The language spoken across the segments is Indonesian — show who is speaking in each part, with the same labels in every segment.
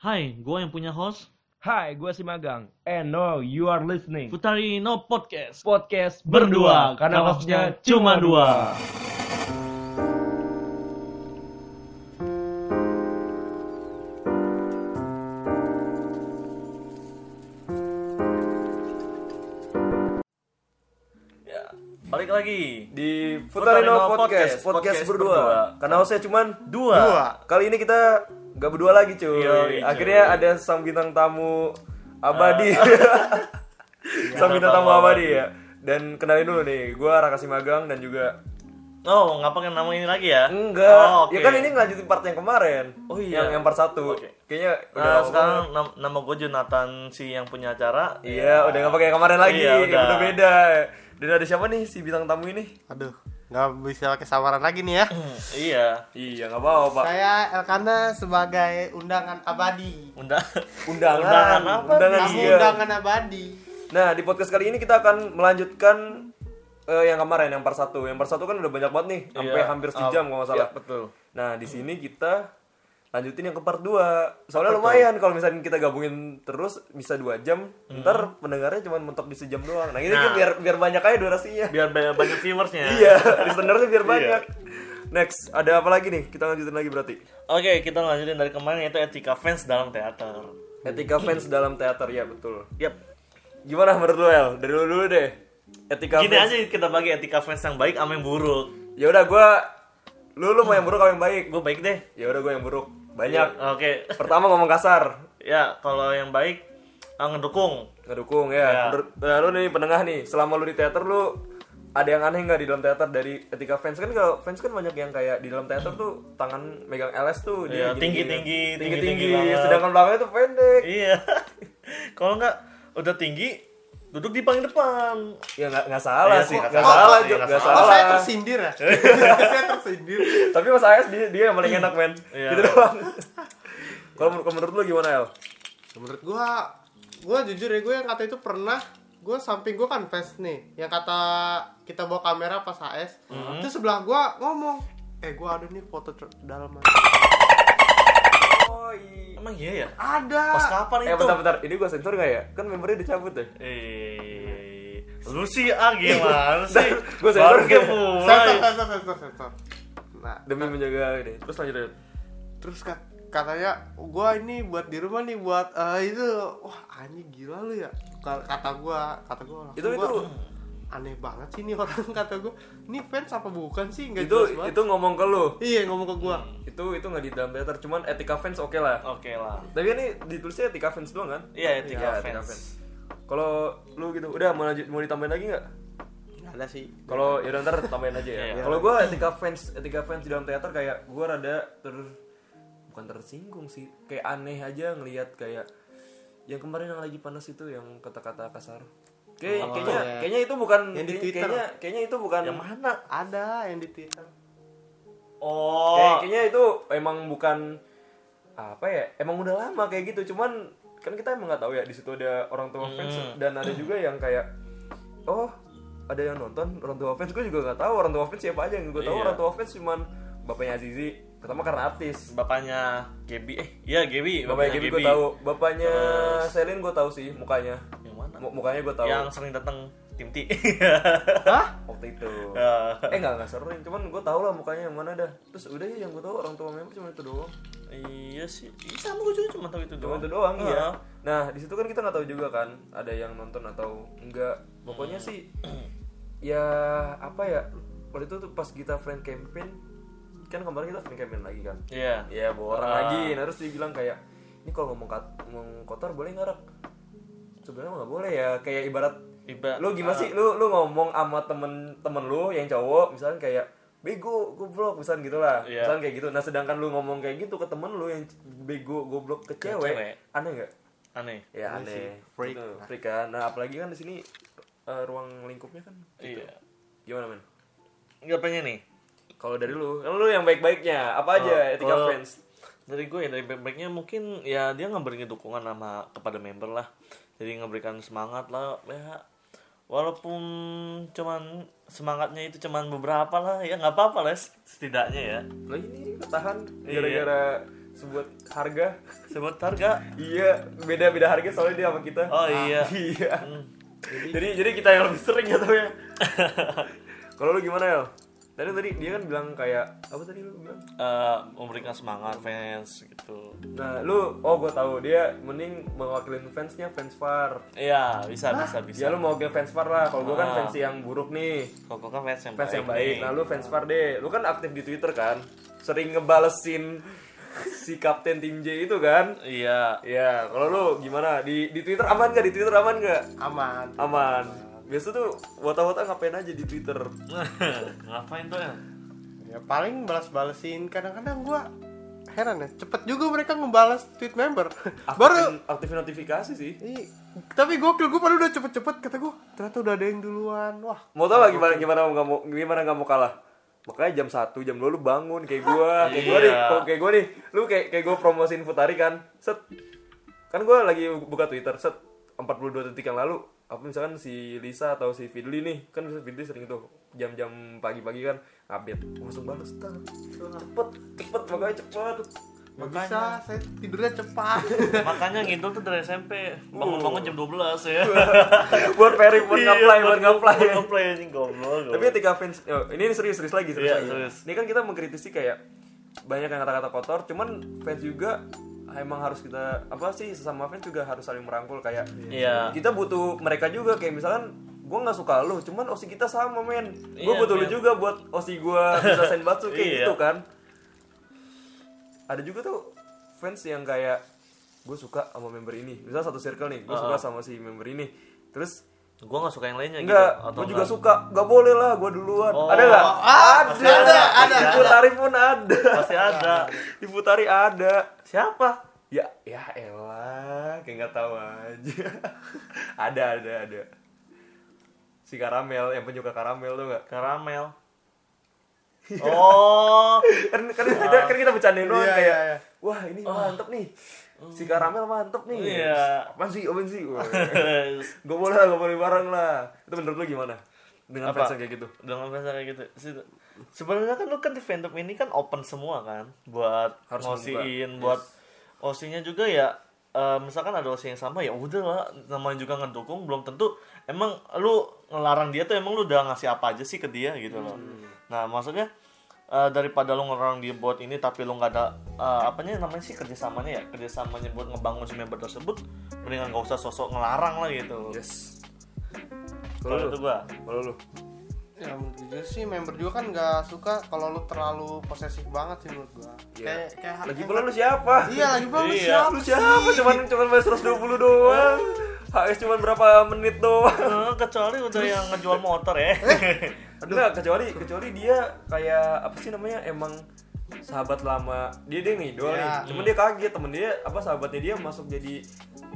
Speaker 1: Hai, gue yang punya host
Speaker 2: Hai, gue si Magang. And no, you are listening.
Speaker 1: Futari No Podcast
Speaker 2: Podcast
Speaker 1: Berdua, karena hostnya cuma dua
Speaker 3: Ya, balik lagi
Speaker 4: di
Speaker 3: Futarino
Speaker 4: Futarino Podcast, podcast, berdua. Karena hostnya cuman
Speaker 3: Dua.
Speaker 4: Kali ini kita nggak berdua lagi
Speaker 3: Yoi,
Speaker 4: cuy.
Speaker 3: cuy.
Speaker 4: Akhirnya ada sang bintang tamu abadi.
Speaker 3: Ah. Iya.
Speaker 4: sang bintang tamu abadi ya. Dan kenalin dulu nih, gue Raka Simagang dan juga
Speaker 3: Oh, nggak pakai nama ini lagi ya?
Speaker 4: enggak.
Speaker 3: Oh, oke.
Speaker 4: Ya kan ini ngelanjutin part yang kemarin.
Speaker 3: Oh, iya.
Speaker 4: Yang, yang part 1.
Speaker 3: Oke.
Speaker 4: Kayaknya
Speaker 3: Nah,
Speaker 4: udah
Speaker 3: sekarang nam- nama gue Jonathan si yang punya acara.
Speaker 4: Iya, udah nggak pakai yang kemarin lagi.
Speaker 3: Iya, udah.
Speaker 4: udah beda. Dan ada siapa nih si bintang tamu ini?
Speaker 5: Aduh, nggak bisa kesawaran lagi nih ya.
Speaker 3: Hmm, iya.
Speaker 4: Iya, nggak apa-apa.
Speaker 5: Saya Elkana sebagai undangan abadi.
Speaker 3: Undang.
Speaker 4: Undangan,
Speaker 3: Undangan apa?
Speaker 4: undangan
Speaker 5: Kamu
Speaker 4: dia.
Speaker 5: undangan abadi.
Speaker 4: Nah, di podcast kali ini kita akan melanjutkan eh, yang kemarin yang part 1. Yang part 1 kan udah banyak banget nih, sampai
Speaker 3: Iya.
Speaker 4: hampir sejam kalau nggak salah.
Speaker 3: Iya, betul.
Speaker 4: Nah, di sini kita lanjutin yang ke part 2. Soalnya lumayan kalau misalnya kita gabungin terus bisa 2 jam. Ntar pendengarnya cuma mentok di sejam doang. Nah, ini
Speaker 3: Hmm. Nah.
Speaker 4: biar biar banyak aja durasinya.
Speaker 3: Biar ba- banyak viewersnya.
Speaker 4: Iya, listenernya biar banyak. Next, ada apa lagi nih? Kita lanjutin lagi berarti.
Speaker 3: Oke, kita lanjutin dari kemarin yaitu etika fans dalam teater.
Speaker 4: Etika fans dalam teater ya, betul.
Speaker 3: Yap.
Speaker 4: Gimana menurut lu, El? Dari lu dulu deh. Etika
Speaker 3: Gini
Speaker 4: fans
Speaker 3: aja kita bagi etika fans yang baik sama yang buruk.
Speaker 4: ya udah gue lu lu mau yang buruk apa yang baik
Speaker 3: Gue baik deh.
Speaker 4: ya udah gue yang buruk banyak
Speaker 3: Oke.
Speaker 4: pertama ngomong kasar
Speaker 3: Ya, kalau yang baik ah, ngedukung.
Speaker 4: ngedukung
Speaker 3: Ya.
Speaker 4: ya, Menurut nah, lu nih penengah nih selama lu di teater lu ada yang aneh nggak di dalam teater dari ketika fans kan kalau fans kan banyak yang kayak di dalam teater tuh tangan megang LS tuh
Speaker 3: Iya,
Speaker 4: dia gini-gini.
Speaker 3: tinggi-tinggi,
Speaker 4: tinggi-tinggi
Speaker 3: tinggi-tinggi banget.
Speaker 4: sedangkan belakangnya tuh pendek
Speaker 3: Iya. Kalau nggak udah tinggi duduk di paling depan.
Speaker 4: ya nggak nggak
Speaker 3: Iya
Speaker 4: salah
Speaker 3: sih,
Speaker 4: sih
Speaker 3: nggak
Speaker 4: nggak
Speaker 3: salah.
Speaker 4: salah
Speaker 3: Iya,
Speaker 4: Jo.
Speaker 3: nggak
Speaker 4: nggak
Speaker 5: Oh,
Speaker 4: salah
Speaker 5: saya tersindir ya? saya tersindir.
Speaker 4: tapi mas AS dia, dia yang paling enak men
Speaker 3: Iya.
Speaker 4: gitu doang kalau menur- kalau menurut lu gimana El
Speaker 5: Menurut gua, gua jujur ya, gua yang kata itu pernah gua samping gua kan fans nih, yang kata kita bawa kamera pas HS.
Speaker 4: Hmm.
Speaker 5: Terus sebelah gua ngomong, "Eh, gua ada nih foto ter- dalam."
Speaker 4: oh iya
Speaker 3: Emang iya ya? Pas
Speaker 5: Ada.
Speaker 3: kapan itu?
Speaker 4: Eh bentar-bentar, ini gua sensor gak ya? Kan membernya dicabut ya?
Speaker 3: Eh, lu sih ah gimana sih?
Speaker 4: Gua
Speaker 3: Baru
Speaker 4: sensor.
Speaker 3: kayak
Speaker 5: Sensor,
Speaker 3: mulai.
Speaker 5: sensor, sensor, sensor. Nah,
Speaker 4: Demi menjaga ini Terus lanjut lanjut
Speaker 5: terus kat- katanya gua ini buat di rumah nih buat eh, itu wah anjing gila lu ya Ka- kata gua kata gua langsung
Speaker 4: Itu,
Speaker 5: gua,
Speaker 4: itu.
Speaker 5: aneh banget sih nih orang kata gua ini fans apa bukan sih nggak
Speaker 4: Itu
Speaker 5: jelas banget
Speaker 4: itu ngomong ke lu
Speaker 5: iya ngomong ke gua
Speaker 4: Itu itu gak di dalam teater, cuman etika fans oke lah
Speaker 3: Oke lah.
Speaker 4: Tapi kan ini ditulisnya etika fans doang kan?
Speaker 3: Iya, etika
Speaker 4: Iya,
Speaker 3: fans.
Speaker 4: Kalau lu gitu, udah mau lanjut mau ditambahin lagi nggak?
Speaker 5: nggak ada sih
Speaker 4: Kalau ya udah, ntar tambahin aja ya.
Speaker 3: Iya.
Speaker 4: Kalau gua etika fans, etika fans di dalam teater kayak gua rada ter bukan tersinggung sih, kayak aneh aja ngelihat kayak yang kemarin yang lagi panas itu yang kata-kata kasar. Kayak,
Speaker 5: Oh,
Speaker 4: kayaknya
Speaker 5: iya.
Speaker 4: kayaknya itu bukan
Speaker 5: Yang di
Speaker 4: kayak-
Speaker 5: Twitter.
Speaker 4: kayaknya kayaknya itu bukan
Speaker 3: Yang mana?
Speaker 5: ada yang di twitter
Speaker 4: kayak-
Speaker 3: Oh.
Speaker 4: kayaknya itu emang bukan apa ya emang udah lama kayak gitu cuman kan kita emang nggak tahu ya di situ ada orang tua fans
Speaker 3: Hmm.
Speaker 4: dan ada juga yang kayak oh ada yang nonton orang tua fans gue juga nggak tahu orang tua fans siapa aja yang gue tahu
Speaker 3: Iya.
Speaker 4: orang tua fans cuman bapaknya Azizi pertama karena artis
Speaker 3: Bapaknya Gebi eh iya Gebi
Speaker 4: bapaknya Gibi gue tahu bapaknya Selin gue tahu sih mukanya
Speaker 3: Yang mana?
Speaker 4: Mu- mukanya gue tahu
Speaker 3: Yang sering datang tim T. Iya.
Speaker 4: waktu itu
Speaker 3: Ah.
Speaker 4: eh nggak nggak sering cuman gue tahu lah mukanya yang mana dah terus udah ya yang gue tahu orang tua member cuma itu doang
Speaker 3: Iya sih. Ih, sama gue juga cuma tahu itu
Speaker 4: cuma
Speaker 3: doang.
Speaker 4: itu doang
Speaker 3: Ah.
Speaker 4: iya nah di situ kan kita nggak tahu juga kan ada yang nonton atau enggak pokoknya sih ya apa ya waktu itu tuh pas kita friend campaign kan kemarin kita friend campaign lagi kan
Speaker 3: Iya.
Speaker 4: ya bawa orang
Speaker 3: Ah.
Speaker 4: lagi nah, terus dia bilang kayak ini kalau ngomong, kat- ngomong kotor boleh nggak Rak?" sebenarnya nggak boleh ya kayak ibarat
Speaker 3: Iba-
Speaker 4: lu gimana sih lu lu ngomong sama temen temen lu yang cowok misalnya kayak bego goblok misalnya gitu lah
Speaker 3: Iya.
Speaker 4: misalnya kayak gitu nah sedangkan lu ngomong kayak gitu ke temen lu yang bego goblok ke cewek,
Speaker 3: cewek.
Speaker 4: aneh nggak
Speaker 3: Aneh.
Speaker 4: ya
Speaker 5: Aneh sih,
Speaker 4: aneh
Speaker 5: freak.
Speaker 4: Gitu, freak kan nah apalagi kan di sini eh, ruang lingkupnya kan gitu.
Speaker 3: Iya.
Speaker 4: gimana men
Speaker 3: Enggak pengen nih.
Speaker 4: kalau dari lu kan lu yang baik baiknya apa
Speaker 3: Oh,
Speaker 4: aja etika
Speaker 3: kalau
Speaker 4: fans
Speaker 3: dari gue ya dari baik-baiknya mungkin ya dia ngeberikan dukungan sama kepada member lah jadi ngeberikan semangat lah ya walaupun cuman semangatnya itu cuman beberapa lah ya nggak apa-apa lah setidaknya ya
Speaker 4: Lah Nah, ini ditahan
Speaker 3: Iya.
Speaker 4: gara-gara sebuat harga
Speaker 3: Sebut harga.
Speaker 4: iya beda beda harga soalnya dia sama kita
Speaker 3: Oh iya.
Speaker 4: iya
Speaker 3: Hmm.
Speaker 4: jadi jadi kita yang lebih sering ya tau ya kalau lu gimana ya tadi tadi dia kan bilang kayak apa tadi lu bilang
Speaker 3: Eh, memberikan semangat fans gitu.
Speaker 4: nah lu oh gue tahu dia mending mewakilin fansnya fans far
Speaker 3: Iya, bisa bisa bisa.
Speaker 4: ya lu mau ke fans far lah kalau gue kan
Speaker 3: Ah.
Speaker 4: fans yang buruk nih
Speaker 3: Kok kan fans yang
Speaker 4: fans
Speaker 3: baik.
Speaker 4: yang baik
Speaker 3: nih.
Speaker 4: nah lu fans far deh lu kan aktif di twitter kan sering ngebalesin si kapten tim J itu kan
Speaker 3: Iya.
Speaker 4: Ya, kalau lu gimana? Di di Twitter aman gak? Di Twitter aman gak?
Speaker 5: aman
Speaker 4: Aman. Biasa tuh wota-wota ngapain aja di Twitter?
Speaker 3: Ngapain tuh? El?
Speaker 5: ya paling balas-balesin kadang-kadang gua heran ya cepet juga mereka ngebalas tweet member baru
Speaker 4: Aktifin- aktifin notifikasi sih.
Speaker 5: Ih, tapi gokil gue padahal udah cepet-cepet kata gue ternyata udah ada yang duluan wah
Speaker 4: Mau tau gak gimana gimana nggak mau gimana nggak mau kalah? Makanya jam 1, jam 2 lu bangun kayak gua, kayak gua nih,
Speaker 3: Iya.
Speaker 4: kok kayak gua nih. Lu kayak kayak gua promosiin Futari kan. Set. Kan gua lagi buka Twitter, set 42 detik yang lalu apa misalkan si Lisa atau si Fidli nih kan biasa Fidli sering itu jam-jam pagi-pagi kan update langsung balas tar. cepet cepet makanya cepet
Speaker 5: nggak bisa saya tidurnya cepat
Speaker 3: Makanya ngidol tuh dari SMP. Bangun-bangun jam 12 ya.
Speaker 4: buat peri buat ngaplay Iya, buat ngaplay
Speaker 3: Iya, Buat ngaplay anjing goblok.
Speaker 4: tapi ketika fans oh, ini serius serius lagi serius
Speaker 3: Iya,
Speaker 4: lagi
Speaker 3: serius.
Speaker 4: ini kan kita mengkritisi kayak banyak yang kata-kata kotor cuman fans juga emang harus kita apa sih sesama fans juga harus saling merangkul kayak
Speaker 3: Iya.
Speaker 4: kita butuh mereka juga kayak misalkan gue nggak suka lu cuman osi kita sama men gue
Speaker 3: Iya,
Speaker 4: butuh lu
Speaker 3: men.
Speaker 4: juga buat osi gue bisa senbatsu kayak
Speaker 3: Iya.
Speaker 4: gitu kan ada juga tuh fans yang kayak gue suka sama member ini misal satu circle nih gue suka sama si member ini terus
Speaker 3: Gua nggak suka yang lainnya gitu.
Speaker 4: Enggak, gue juga suka. Gak boleh lah, gue duluan. ada nggak?
Speaker 5: pasti ada, ada,
Speaker 4: Di Putari pun ada.
Speaker 3: Pasti ada.
Speaker 4: Di Putari ada.
Speaker 3: Siapa?
Speaker 4: Ya, ya elah, kayak nggak tahu aja. ada, ada, ada. Si karamel, yang penyuka karamel tuh nggak?
Speaker 3: Karamel. Oh,
Speaker 4: Kan, kan, kita, kan kita bercandain doang
Speaker 5: Iya,
Speaker 4: kayak,
Speaker 5: iya, iya.
Speaker 4: wah ini mantep nih. Si karamel mantep nih.
Speaker 3: Iya.
Speaker 4: Apaan sih, apaan sih? Gak boleh lah, gak boleh bareng lah. Itu menurut lu gimana? Dengan
Speaker 3: Apa?
Speaker 4: fans yang kayak gitu.
Speaker 3: dengan bahasa kayak gitu Se- sebenarnya kan lu kan di fandom ini kan open semua kan buat
Speaker 4: Harus
Speaker 3: ngosiin buat osinya juga ya eh, misalkan ada osi yang sama ya udah lah namanya juga ngedukung belum tentu emang lu ngelarang dia tuh emang lu udah ngasih apa aja sih ke dia gitu loh
Speaker 4: Hmm.
Speaker 3: nah maksudnya eh, daripada lu ngelarang dia buat ini tapi lu nggak ada eh, apanya namanya sih kerjasamanya ya kerjasamanya buat ngebangun si member tersebut mendingan gak usah sosok ngelarang lah gitu
Speaker 4: Yes.
Speaker 3: kalau itu gua
Speaker 4: Kalau lu?
Speaker 5: ya menurut gue sih member juga kan nggak suka kalau lu terlalu posesif banget sih menurut gue kayak kayak
Speaker 4: Lagi pula lu siapa?
Speaker 5: iya lagi pula lu
Speaker 3: Iya.
Speaker 5: siapa
Speaker 4: Lu siapa?
Speaker 5: sih?
Speaker 4: Cuman cuman bayar 120 doang. HS cuman berapa menit doang.
Speaker 3: Eh, kecuali udah yang ngejual motor ya
Speaker 4: Enggak, kecuali kecuali dia kayak apa sih namanya? Emang sahabat lama. Dia dia ngidol nih.
Speaker 5: Iya.
Speaker 4: Cuman dia kaget temen dia apa sahabatnya dia masuk jadi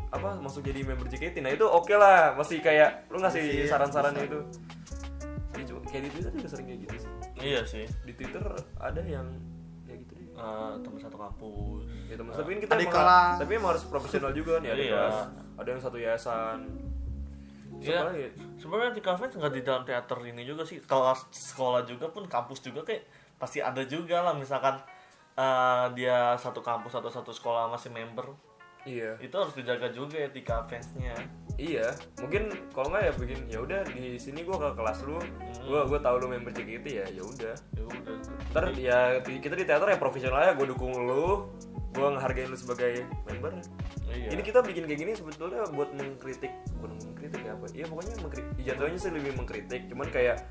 Speaker 4: apa masuk jadi member JKT. Nah, itu oke lah. Masih kayak lu ngasih
Speaker 5: Masih
Speaker 4: saran-saran
Speaker 5: bisa.
Speaker 4: itu. Ya, cuma, kayak di Twitter juga sering kayak gitu sih.
Speaker 3: iya sih
Speaker 4: Di Twitter ada yang kayak gitu deh.
Speaker 3: Eh, teman satu kampus
Speaker 4: Ya teman, tapi kan kita
Speaker 5: Adik
Speaker 4: emang,
Speaker 5: kelas.
Speaker 4: tapi emang harus profesional juga nih ada
Speaker 3: Iya.
Speaker 4: kelas. Ada yang satu yayasan.
Speaker 3: Iya.
Speaker 4: Siapa lagi?
Speaker 3: sebenarnya di kafe nggak di dalam teater ini juga sih kelas sekolah juga pun kampus juga kayak pasti ada juga lah misalkan eh, dia satu kampus atau satu sekolah masih member
Speaker 4: Iya.
Speaker 3: itu harus dijaga juga etika fansnya
Speaker 4: Iya. Mungkin kalau nggak ya bikin ya udah di sini gua ke kelas lu.
Speaker 3: Hmm.
Speaker 4: Gua gua tahu lu member JKT ya, ya udah.
Speaker 3: ya udah
Speaker 4: Ntar ya di- kita di teater ya profesional ya gua dukung lu. Gua ngehargain lu sebagai member.
Speaker 3: iya
Speaker 4: Ini kita bikin kayak gini sebetulnya buat mengkritik, bukan mengkritik ya apa? Iya pokoknya mengkritik. Jatuhnya sih lebih mengkritik, cuman kayak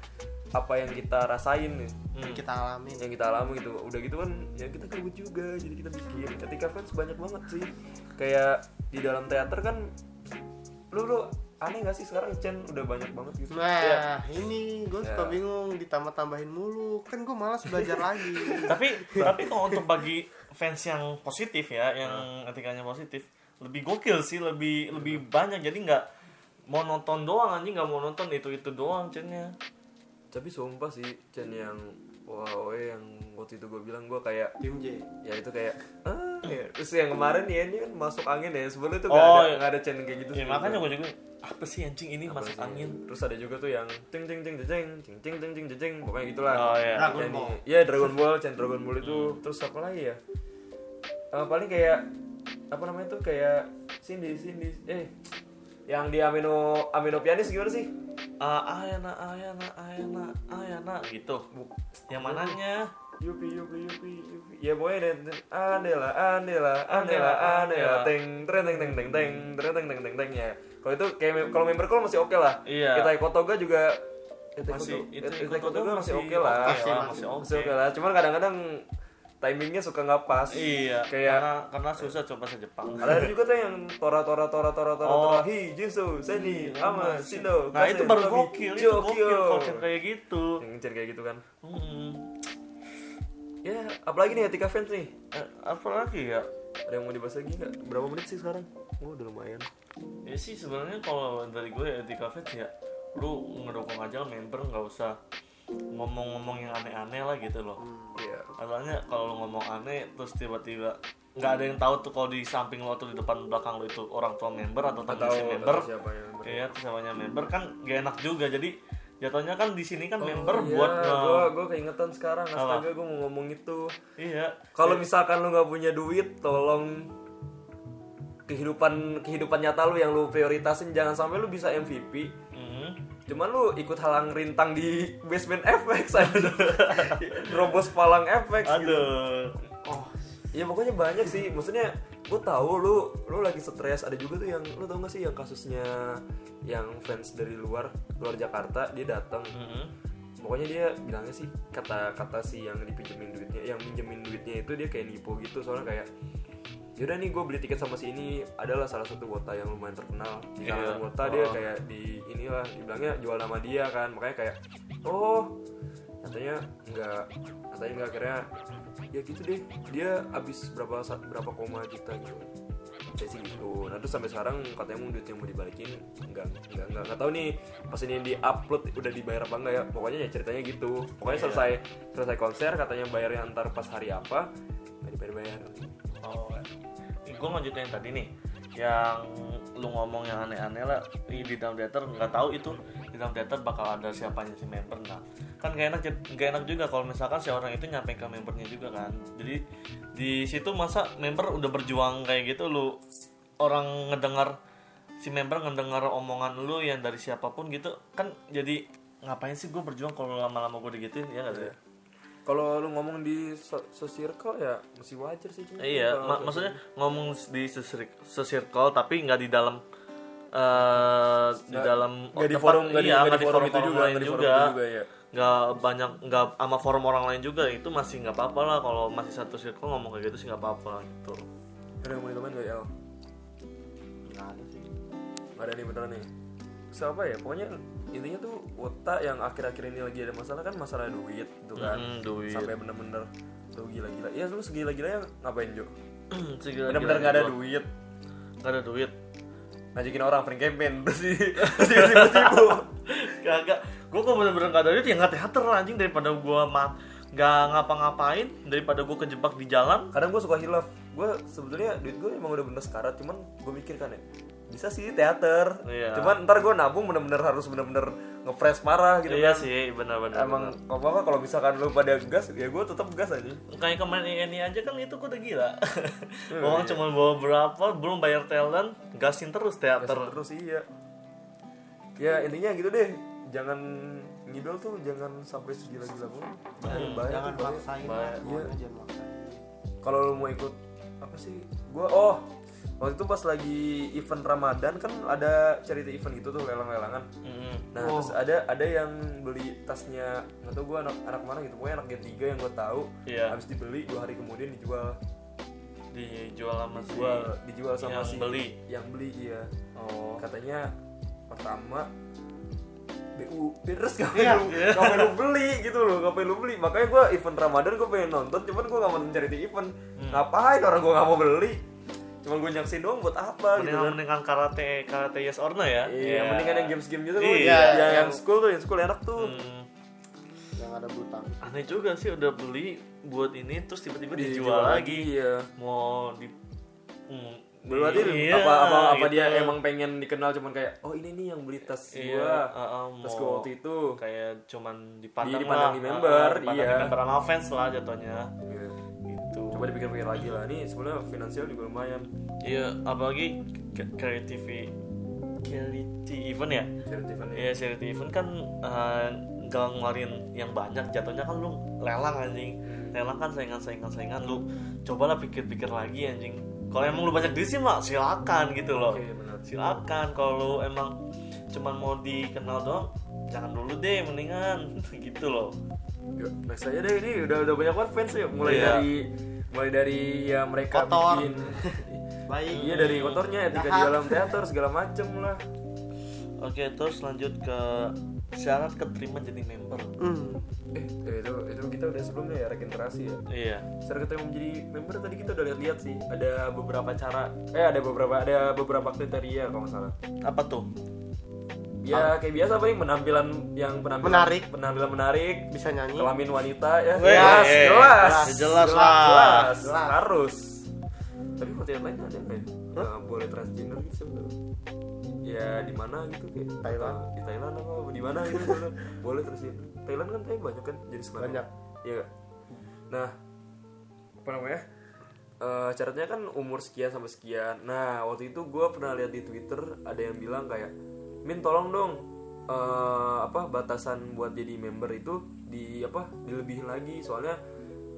Speaker 4: apa yang kita rasain nih.
Speaker 3: Hmm.
Speaker 5: kita alamin
Speaker 4: yang kita alami gitu udah gitu kan ya kita gabut juga jadi kita bikin ketika fans banyak banget sih kayak di dalam teater kan lu lu aneh gak sih sekarang Chen udah banyak banget gitu
Speaker 5: nah
Speaker 4: Iya.
Speaker 5: ini gue
Speaker 4: Ya.
Speaker 5: suka bingung ditambah tambahin mulu kan gue malas belajar lagi
Speaker 3: tapi tapi kalau untuk bagi fans yang positif ya yang etikanya positif lebih gokil sih lebih lebih banyak jadi nggak mau nonton doang anjing nggak mau nonton itu itu doang cennya
Speaker 4: tapi sumpah sih Chen yang wow eh, yang waktu itu gue bilang gue kayak
Speaker 5: tim J
Speaker 4: ya itu kayak ah, ya. terus yang kemarin ya ini kan masuk angin ya sebelum itu gak
Speaker 3: Oh,
Speaker 4: ada
Speaker 3: iya.
Speaker 4: gak ada Chen kayak gitu
Speaker 3: ya,
Speaker 4: sebelumnya.
Speaker 3: makanya gue juga apa sih anjing ini masuk angin
Speaker 4: terus ada juga tuh yang ting ting ting jeng ting ting ting ting jeng pokoknya gitulah
Speaker 3: Oh, iya. Hmm.
Speaker 5: Dragon
Speaker 4: Jadi-
Speaker 5: Ball.
Speaker 4: iya Dragon Ball Chan Dragon Ball itu terus apa lagi ya eh, paling kayak apa namanya tuh kayak sini sini eh yang di amino amino pianis gimana sih
Speaker 3: Ah, ayana, ayana, ayana, ayana gitu.
Speaker 4: Bu-
Speaker 3: Yang mananya?
Speaker 4: Yupi yupi yupi yupi. Ya boy dan anela anela anela anela teng tren teng teng teng teng tren teng teng teng teng ya. Kalau itu kayak mem- kalau member call masih oke lah.
Speaker 3: Iya.
Speaker 4: Kita Kotoga juga eh,
Speaker 3: Masih- Itai
Speaker 4: kita
Speaker 3: Kotoga
Speaker 4: Kotoga masih
Speaker 3: masih
Speaker 4: oke lah.
Speaker 5: oke lah,
Speaker 3: masih oke.
Speaker 4: Masih oke lah. Cuman kadang-kadang timingnya suka nggak pas.
Speaker 3: Iya.
Speaker 4: Kayak
Speaker 3: karena, karena susah coba bahasa Jepang.
Speaker 4: ada juga tuh yang tora tora tora tora tora
Speaker 3: Oh. Iya,
Speaker 4: tora hi jisu seni ama sindo.
Speaker 3: Nah
Speaker 4: kasen,
Speaker 3: itu baru
Speaker 4: tobi,
Speaker 3: gokil, itu
Speaker 4: jokyo.
Speaker 3: gokil konsep kayak gitu.
Speaker 4: Yang ngejar kayak gitu kan.
Speaker 3: Hmm.
Speaker 4: Ya, apalagi nih etika fans nih.
Speaker 3: Eh, apa lagi ya?
Speaker 4: Ada yang mau dibahas lagi nggak? Berapa menit sih sekarang? Oh, udah lumayan.
Speaker 3: Ya sih sebenarnya kalau dari gue ya di cafe ya lu ngedukung aja member nggak usah ngomong-ngomong yang aneh-aneh lah gitu loh.
Speaker 4: Iya.
Speaker 3: Masalahnya kalau lu ngomong aneh terus tiba-tiba nggak ada yang tahu tuh kalau di samping lo atau di depan belakang lo itu orang tua member atau
Speaker 4: Atau
Speaker 3: tetangga si member.
Speaker 4: atau siapa yang member.
Speaker 3: Iya, terus namanya member kan gak enak juga. Jadi jatuhnya kan di sini kan member
Speaker 4: Iya,
Speaker 3: buat nge-
Speaker 4: gua gua keingetan sekarang. Astaga, gua mau ngomong itu.
Speaker 3: iya.
Speaker 4: Kalau misalkan lu nggak punya duit, tolong kehidupan kehidupan nyata lu yang lu prioritasin jangan sampai lu bisa MVP
Speaker 3: Hmm.
Speaker 4: cuman lu ikut halang rintang di basement FX aja robos palang FX gitu.
Speaker 3: Aduh.
Speaker 4: Ya pokoknya banyak sih. Maksudnya gue tahu lu lu lagi stres. Ada juga tuh yang lu tau gak sih yang kasusnya yang fans dari luar luar Jakarta dia datang.
Speaker 3: Hmm.
Speaker 4: Pokoknya dia bilangnya sih kata-kata si yang dipinjemin duitnya, yang minjemin duitnya itu dia kayak nipu gitu. Soalnya kayak yaudah nih gue beli tiket sama si ini adalah salah satu wota yang lumayan terkenal di
Speaker 3: Iya.
Speaker 4: kalangan wota dia
Speaker 3: Oh.
Speaker 4: kayak di inilah dibilangnya jual nama dia kan makanya kayak oh katanya nggak katanya nggak akhirnya ya gitu deh dia habis berapa sa- berapa koma juta gitu kayak sih gitu nah terus sampai sekarang katanya mau duitnya mau dibalikin nggak nggak nggak nggak tahu nih pas ini di upload udah dibayar apa enggak ya pokoknya ya ceritanya gitu pokoknya
Speaker 3: Iya.
Speaker 4: selesai selesai konser katanya bayarnya antar pas hari apa nggak dibayar bayar
Speaker 3: Oh. Gue lanjut yang tadi nih yang lu ngomong yang aneh-aneh lah di di dalam teater nggak tahu itu di dalam teater bakal ada siapanya si member nah kan gak enak jad- gak enak juga kalau misalkan si orang itu nyampe ke membernya juga kan jadi di situ masa member udah berjuang kayak gitu lu orang ngedengar si member ngedengar omongan lu yang dari siapapun gitu kan jadi ngapain sih gue berjuang kalau lama-lama gue digituin ya nggak sih
Speaker 4: kalau lu ngomong di so, so circle ya masih wajar sih cuma
Speaker 3: Iya, ma-
Speaker 4: kalau kayak gitu.
Speaker 3: maksudnya ngomong di sesir- sesirkel tapi nggak di dalam eh, di dalam
Speaker 4: nggak di
Speaker 3: tempat-
Speaker 4: forum- nggak di-
Speaker 3: iya,
Speaker 4: nggak
Speaker 3: nggak di
Speaker 4: di forum
Speaker 3: forum,
Speaker 4: itu juga,
Speaker 3: lain
Speaker 4: nggak di forum
Speaker 3: juga,
Speaker 4: itu juga, iya.
Speaker 3: nggak banyak nggak sama forum orang lain juga itu masih nggak apa-apa lah kalau masih satu circle ngomong kayak gitu sih nggak apa-apa gitu.
Speaker 4: gitu. ada yang mau ditambahin nggak ya El? Nggak ada nih beneran nih siapa ya pokoknya intinya tuh otak yang akhir-akhir ini lagi ada masalah kan masalah duit gitu kan
Speaker 3: Mm, duit.
Speaker 4: sampai bener-bener tuh gila-gila ya lu segila-gila yang ngapain Jo
Speaker 3: Segila-gila
Speaker 4: bener-bener nggak ada
Speaker 3: gua.
Speaker 4: duit
Speaker 3: Nggak ada duit.
Speaker 4: ngajakin orang free campaign terus di terus di terus tipu
Speaker 3: Kagak. Gue kok bener-bener nggak ada duit ya nggak teater lah, anjing daripada gua ma- nggak ngapa-ngapain daripada gua kejebak di jalan.
Speaker 4: kadang gue suka hilaf gue sebetulnya duit gue emang udah bener sekarat cuman gue mikir kan ya bisa sih teater
Speaker 3: Iya.
Speaker 4: cuman ntar gue nabung bener-bener harus bener-bener ngepres parah gitu
Speaker 3: iya
Speaker 4: kan.
Speaker 3: sih, benar-benar.
Speaker 4: emang apa kalau misalkan lu pada gas ya gue tetap gas aja
Speaker 3: kayak kemarin ini aja kan itu gue udah gila
Speaker 4: Iya.
Speaker 3: uang cuma bawa berapa belum bayar talent gasin terus teater
Speaker 4: Gasing terus iya ya intinya gitu deh jangan ngidol tuh jangan sampai segila-gila banget Bahaya- bahaya
Speaker 5: Iya, jangan
Speaker 4: tuh, bahaya.
Speaker 5: maksain lah
Speaker 3: Baik.
Speaker 5: semuanya jangan maksain
Speaker 4: Iya. kalau lu mau ikut apa sih gua oh waktu itu pas lagi event Ramadan kan ada charity event gitu tuh lelang-lelangan
Speaker 3: Mm.
Speaker 4: Nah,
Speaker 5: Oh.
Speaker 4: terus ada ada yang beli tasnya nggak tau gue anak anak mana gitu, pokoknya anak gen 3 yang gue tahu.
Speaker 3: Iya.
Speaker 4: Habis dibeli dua hari kemudian dijual,
Speaker 3: dijual sama si
Speaker 4: dijual, dijual sama
Speaker 3: yang
Speaker 4: si
Speaker 3: beli.
Speaker 4: yang beli iya.
Speaker 3: oh
Speaker 4: Katanya pertama BU terus gak
Speaker 5: Iya.
Speaker 4: perlu gak perlu beli gitu loh gak perlu beli makanya gue event Ramadan gue pengen nonton cuman gue gak mau mencari di event
Speaker 3: Hmm.
Speaker 4: ngapain orang gue gak mau beli cuman gue nyaksin doang buat apa gitu
Speaker 3: mendingan
Speaker 4: kan
Speaker 3: mendingan karate karate yes or no ya
Speaker 4: iya mendingan yang games game gitu
Speaker 3: Iya.
Speaker 4: iya. yang, yang school tuh yang school enak tuh
Speaker 3: Hmm.
Speaker 5: jangan ada butang
Speaker 3: aneh juga sih udah beli buat ini terus tiba-tiba dijual, lagi
Speaker 4: iya
Speaker 3: mau di Hmm,
Speaker 4: berarti
Speaker 3: iya,
Speaker 4: apa apa apa
Speaker 3: gitu.
Speaker 4: dia emang pengen dikenal cuman kayak oh ini nih yang beli tas
Speaker 3: Iya,
Speaker 4: gua
Speaker 3: uh-uh,
Speaker 4: tas
Speaker 3: mau-
Speaker 4: gua waktu itu
Speaker 3: kayak cuman dipandang
Speaker 4: Dipandang
Speaker 3: lah,
Speaker 4: di member,
Speaker 3: uh-uh, dipandang
Speaker 4: iya.
Speaker 3: di member sama fans lah jatuhnya
Speaker 4: Iya.
Speaker 3: gitu
Speaker 4: cuman coba dipikir-pikir lagi lah ini sebenarnya finansial juga lumayan
Speaker 3: Iya, apalagi ke- creativity charity event ya.
Speaker 4: charity event
Speaker 3: Iya, charity event kan eh, nggak ngeluarin yang banyak, jatuhnya kan lu lelang anjing. Lelang kan saingan-saingan-saingan lu. Cobalah pikir-pikir lagi anjing. Kalau emang lu banyak duit sih mah silakan gitu loh.
Speaker 4: Oke, benar.
Speaker 3: Silakan kalau lu emang cuman mau dikenal doang jangan dulu deh mendingan gitu loh.
Speaker 4: Yuk, next aja deh ini udah udah banyak banget fans ya mulai
Speaker 3: Iya.
Speaker 4: dari mulai dari ya mereka
Speaker 5: Kotor.
Speaker 4: bikin
Speaker 5: Baik.
Speaker 4: iya dari kotornya etika di
Speaker 5: Jahat.
Speaker 4: dalam teater segala macem lah
Speaker 3: Oke, terus lanjut ke syarat keterima jadi member.
Speaker 5: Hmm.
Speaker 4: eh eh, itu itu kita udah sebelumnya ya regenerasi ya
Speaker 3: Iya.
Speaker 4: secara kita mau menjadi member tadi kita udah lihat-lihat sih ada beberapa cara eh ada beberapa ada beberapa kriteria kalau nggak salah
Speaker 3: Apa tuh?
Speaker 4: ya kayak biasa paling penampilan yang penampilan
Speaker 5: Menarik.
Speaker 4: penampilan menarik
Speaker 5: Bisa nyanyi.
Speaker 4: kelamin wanita ya
Speaker 3: Weh,
Speaker 4: jelas
Speaker 3: eh,
Speaker 4: jelas
Speaker 3: jelas, jelas lah.
Speaker 4: jelas,
Speaker 5: Jelas.
Speaker 4: harus tapi kriteria lain ada nggak ya Nah, boleh transgender gitu sebenarnya ya di mana gitu kayak
Speaker 5: Thailand.
Speaker 4: di Thailand apa di mana gitu boleh. boleh transgender Thailand kan kayak banyak kan jadi selama
Speaker 5: Banyak.
Speaker 4: iya nggak? nah apa namanya Eh, syaratnya kan umur sekian sampai sekian. Nah waktu itu gue pernah lihat di Twitter ada yang bilang kayak, Min tolong dong eh, apa batasan buat jadi member itu di apa dilebihin lagi soalnya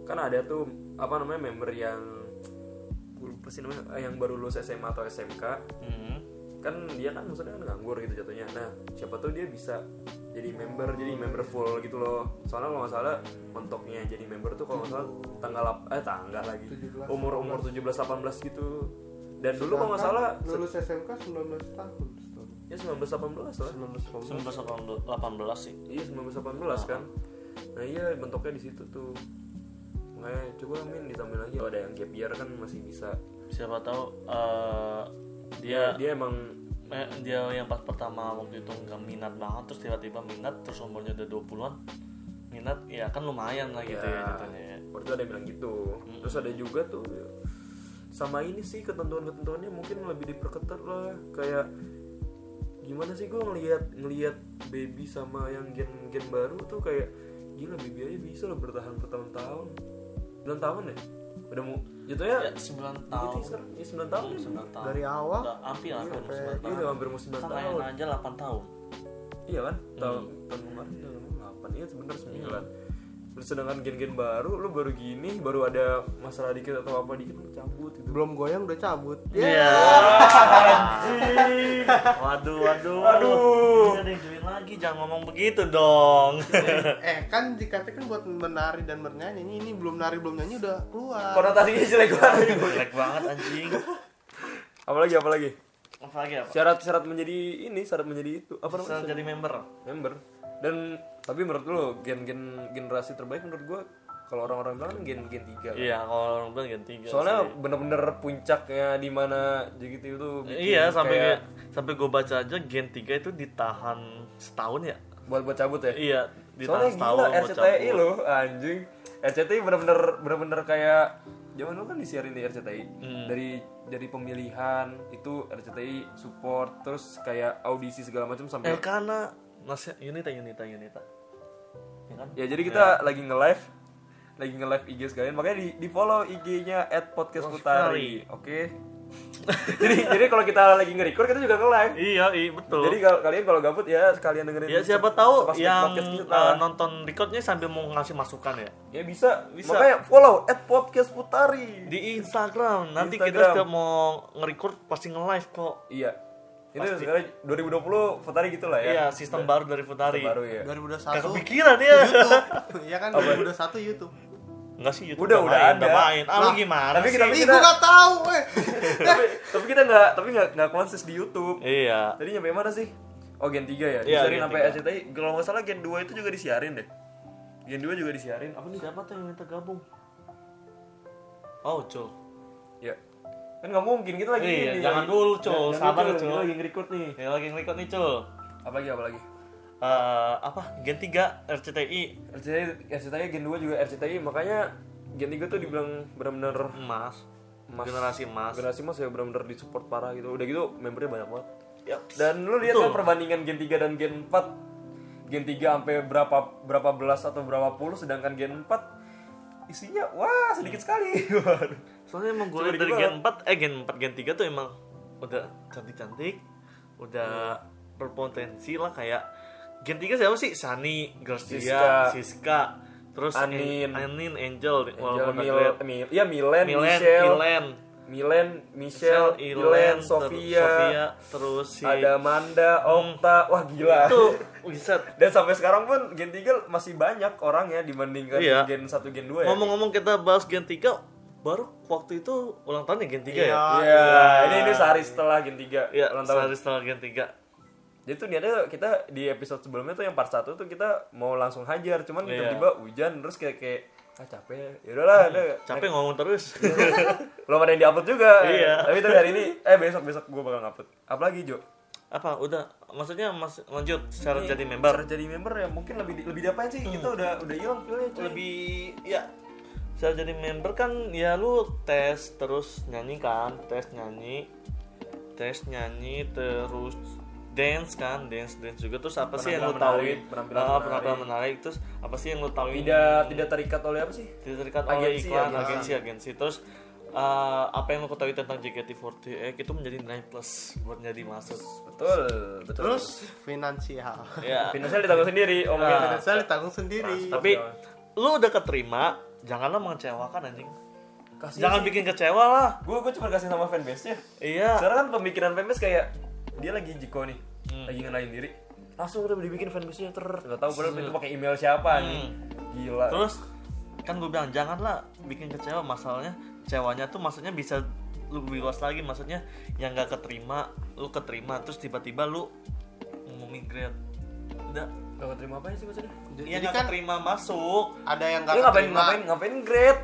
Speaker 4: kan ada tuh apa namanya member yang gue lupa sih namanya eh, yang baru lulus SMA atau SMK
Speaker 3: Hmm.
Speaker 4: kan dia kan maksudnya kan nganggur gitu jatuhnya nah siapa tahu dia bisa jadi member jadi member full gitu loh soalnya kalau nggak salah mentoknya jadi member tuh kalau nggak salah tanggal lap- eh tanggal lagi umur umur 17 18 gitu dan dulu kalau nggak salah
Speaker 5: Sedangkan lulus SMK 19 tahun. setahun.
Speaker 4: ya 19 18 lah
Speaker 5: 19 tahun.
Speaker 3: 1918 sih.
Speaker 4: iya 19 18 kan nah iya mentoknya di situ tuh makanya coba min ditambahin lagi Kalau ada yang gap year kan masih bisa
Speaker 3: Siapa tahu eh, dia
Speaker 4: dia emang
Speaker 3: eh, dia yang pas pertama waktu itu nggak minat banget terus tiba-tiba minat terus umurnya udah 20-an minat ya kan lumayan lah gitu ya, Hmm. jatuhnya ya.
Speaker 4: Waktu itu ada yang bilang gitu. Terus ada juga tuh sama ini sih ketentuan-ketentuannya mungkin lebih diperketat lah kayak gimana sih gue ngelihat ngelihat baby sama yang gen gen baru tuh kayak gila baby aja bisa loh bertahan bertahun-tahun 9 tahun ya udah mau jatuhnya
Speaker 3: Ya,
Speaker 4: ya,
Speaker 3: 9
Speaker 4: tahun
Speaker 3: tahun.
Speaker 4: sekarang ya 9 tahun ya
Speaker 3: 9 tahun.
Speaker 5: Dari awal
Speaker 3: Udah hampir hampir umur 9
Speaker 5: sampai-
Speaker 4: Iya,
Speaker 3: tahun.
Speaker 4: udah hampir mau 9
Speaker 3: Kan
Speaker 4: tahun
Speaker 3: lain aja 8 tahun.
Speaker 4: Iya kan?
Speaker 3: Hmm.
Speaker 4: Tahun tahun kemarin tahun 8 Iya sebenernya 9 Terus sedangkan gen-gen baru Lu baru gini Baru ada masalah dikit atau apa dikit Lu cabut gitu
Speaker 5: belum goyang udah cabut.
Speaker 3: Iya. waduh, Iya. waduh.
Speaker 4: Aduh.
Speaker 3: Ini ada yang join lagi, jangan ngomong begitu dong.
Speaker 5: Eh kan dikatakan buat menari dan bernyanyi ini, ini belum nari belum nyanyi udah keluar.
Speaker 4: Konotasinya jelek banget
Speaker 3: Jelek banget anjing.
Speaker 4: Apalagi apalagi
Speaker 3: Apalagi apa?
Speaker 4: Syarat-syarat menjadi ini Syarat menjadi itu Apa namanya?
Speaker 3: Bisa jadi member.
Speaker 4: Member Dan Tapi menurut lu Gen-gen generasi terbaik menurut gua kalau orang-orang bilang kan gen-gen 3
Speaker 3: Iya, kalau orang bilang ganti tiga.
Speaker 4: Soalnya bener-bener puncaknya di mana JGT itu bikin
Speaker 3: Iya, sampai
Speaker 4: kayak
Speaker 3: gue- sampai gue baca aja Gen 3 itu ditahan setahun ya.
Speaker 4: buat buat cabut ya.
Speaker 3: Iya,
Speaker 4: Soalnya
Speaker 3: ditahan setahun.
Speaker 4: gila
Speaker 3: mau
Speaker 4: RCTI
Speaker 3: cabut.
Speaker 4: lo anjing. RCTI bener-bener bener-bener kayak zaman lu kan disiarin di RCTI.
Speaker 3: Hmm.
Speaker 4: Dari dari pemilihan itu RCTI support terus kayak audisi segala macam sampai
Speaker 3: Eh, karena Mas Yunita Yunita Yunita. Ya kan?
Speaker 4: ya jadi kita lagi nge-live lagi nge-live IG sekalian makanya di, di follow IG-nya @podcastputari. Oke. jadi jadi kalau kita lagi nge-record kita juga nge-live.
Speaker 3: Iya, iya betul.
Speaker 4: Jadi kalau kalian kalau gabut ya sekalian dengerin
Speaker 3: ya siapa
Speaker 4: se-
Speaker 3: tahu
Speaker 4: sepastik
Speaker 3: yang
Speaker 4: podcast kita.
Speaker 3: eh, nonton recordnya sambil mau ngasih masukan ya.
Speaker 4: ya bisa,
Speaker 3: Bisa.
Speaker 4: Makanya follow @podcastputari.
Speaker 3: Di Instagram. Nanti
Speaker 4: Instagram.
Speaker 3: kita setiap mau nge-record pasti nge-live kok.
Speaker 4: Iya. Itu sekarang 2020 Futari gitu lah ya.
Speaker 3: Iya, sistem baru iya. dari Futari.
Speaker 4: Baru ya.
Speaker 5: 2021
Speaker 3: Gak kepikiran ya.
Speaker 5: YouTube. Iya kan 2021 YouTube.
Speaker 3: Enggak sih YouTube
Speaker 4: Udah,
Speaker 3: udah
Speaker 4: udah
Speaker 3: main,
Speaker 4: ada.
Speaker 3: udah main. Ah, lu
Speaker 5: Nah,
Speaker 3: gimana?
Speaker 4: Tapi
Speaker 3: sih?
Speaker 4: kita,
Speaker 5: Ih,
Speaker 4: kita
Speaker 5: gua gak tahu, eh.
Speaker 4: tapi, tapi kita nggak tapi nggak nggak konsis di YouTube.
Speaker 3: Iya.
Speaker 4: Jadi nyampe mana sih? Oh Gen 3 ya.
Speaker 3: Iya,
Speaker 4: Disiarin
Speaker 3: Gen
Speaker 4: sampai
Speaker 3: 3.
Speaker 4: RCTI. Kalau nggak salah Gen 2 itu juga disiarin deh. Gen 2 juga disiarin. Apa nih?
Speaker 3: Siapa tuh yang minta gabung? Oh, Cul.
Speaker 4: Ya. Kan nggak mungkin kita lagi
Speaker 3: Iya,
Speaker 4: ini,
Speaker 3: jangan
Speaker 4: lagi-
Speaker 3: dulu, Cul.
Speaker 4: Jangan dulu,
Speaker 3: Sabar,
Speaker 4: Kita
Speaker 3: Cul.
Speaker 4: lagi nge-record nih.
Speaker 3: Ini lagi ngelikot nih, Cul.
Speaker 4: Apalagi apalagi?
Speaker 3: Eh, apa? Gen 3 RCTI
Speaker 4: RCTI RCTI Gen 2 juga RCTI makanya Gen 3 tuh dibilang benar-benar
Speaker 3: emas.
Speaker 4: Emas.
Speaker 3: Generasi emas.
Speaker 4: generasi mas ya benar-benar di support parah gitu udah gitu membernya banyak banget
Speaker 3: Yap.
Speaker 4: dan lu lihat
Speaker 3: Betul.
Speaker 4: kan perbandingan gen 3 dan gen 4 gen 3 sampai berapa berapa belas atau berapa puluh sedangkan gen 4 isinya wah sedikit sekali Waduh.
Speaker 3: Soalnya emang gue liat dari
Speaker 4: Tiba-tiba-
Speaker 3: gen 4, eh gen 4, gen 3 tuh emang udah cantik-cantik, udah berpotensi lah kayak gen 3 siapa sih? Sani, Garcia, Siska,
Speaker 4: Siska.
Speaker 3: terus
Speaker 4: Anin.
Speaker 3: An- Anin, Angel,
Speaker 4: Angel,
Speaker 3: walaupun
Speaker 4: Eh, Mil,
Speaker 3: agak-
Speaker 4: Mil, ya Milen,
Speaker 3: Milen,
Speaker 4: Michelle,
Speaker 3: Milen,
Speaker 4: Milen,
Speaker 3: Michelle,
Speaker 4: Michelle,
Speaker 3: Ilen,
Speaker 4: Milen,
Speaker 3: ter-
Speaker 4: Sofia,
Speaker 3: terus si Hmm.
Speaker 4: ada Manda, Okta, wah gila.
Speaker 3: itu buset.
Speaker 4: Dan sampai sekarang pun Gen 3 masih banyak orang ya dibandingkan
Speaker 3: Iya.
Speaker 4: Gen 1, Gen 2 ya.
Speaker 3: Ngomong-ngomong kita bahas gen 3, baru waktu itu ulang tahun ya gen 3 ya?
Speaker 4: Iya, ini ini sehari setelah Gen 3
Speaker 3: Iya,
Speaker 4: ulang tahun.
Speaker 3: sehari setelah gen 3
Speaker 4: Jadi tuh niatnya kita di episode sebelumnya tuh yang part 1 tuh kita mau langsung hajar, cuman
Speaker 3: Iya.
Speaker 4: tiba-tiba hujan terus kayak kayak ah capek. Ya udahlah, udah.
Speaker 3: Capek ngomong terus
Speaker 4: Belum ada yang diupload juga.
Speaker 3: Iya.
Speaker 4: Tapi tapi hari ini eh besok-besok gua bakal ngupload. Apalagi, Jo?
Speaker 3: Apa, udah? Maksudnya mas, lanjut syarat
Speaker 4: Ini,
Speaker 3: jadi member? Hmm.
Speaker 4: Cara jadi member ya mungkin lebih di- lebih diapain sih? Kita udah udah hilang feel-nya, cuy.
Speaker 3: Lebih, ya Syarat jadi member kan ya lu tes terus nyanyi kan Tes nyanyi Tes nyanyi terus dance kan dance dance juga terus apa sih yang lu
Speaker 4: Penampilan
Speaker 3: tahuin
Speaker 4: menarik, penampilan
Speaker 3: Ah,
Speaker 4: menarik.
Speaker 3: penampilan menarik terus apa sih yang lu tahuin
Speaker 4: Tidak tidak terikat oleh apa sih?
Speaker 3: Diterikat oleh
Speaker 4: Agensi,
Speaker 3: iklan, agensi,
Speaker 4: agensi.
Speaker 3: agensi. Terus eh, apa yang lo ketahui tentang JKT48 itu menjadi nilai plus buat jadi masuk.
Speaker 4: Betul, betul.
Speaker 5: Terus finansial.
Speaker 3: Ya.
Speaker 4: finansial ditanggung sendiri,
Speaker 3: Ah.
Speaker 4: omongin
Speaker 5: finansial ditanggung sendiri.
Speaker 3: Tapi lu udah keterima, janganlah mengecewakan anjing.
Speaker 4: Kasih
Speaker 3: Jangan bikin kecewa lah.
Speaker 4: Gue gue cuma kasih sama fanbase-nya.
Speaker 3: Iya.
Speaker 4: Sekarang kan pemikiran fanbase kayak dia lagi jiko nih, lagi ngenalin diri. Langsung udah dibikin fanbase-nya ter. Gak tahu padahal itu pakai email siapa nih. Gila.
Speaker 3: Terus kan gue bilang janganlah bikin kecewa masalahnya kecewanya tuh maksudnya bisa lu lebih luas lagi maksudnya yang nggak keterima lu keterima terus tiba-tiba lu ngumumin grade udah
Speaker 4: Gak terima apa ya sih maksudnya?
Speaker 3: yang
Speaker 5: Jadi
Speaker 3: nggak
Speaker 5: kan
Speaker 3: keterima masuk
Speaker 5: ada yang
Speaker 4: Lu
Speaker 5: nggak
Speaker 4: ngapain
Speaker 5: keterima.
Speaker 4: ngapain ngapain grade?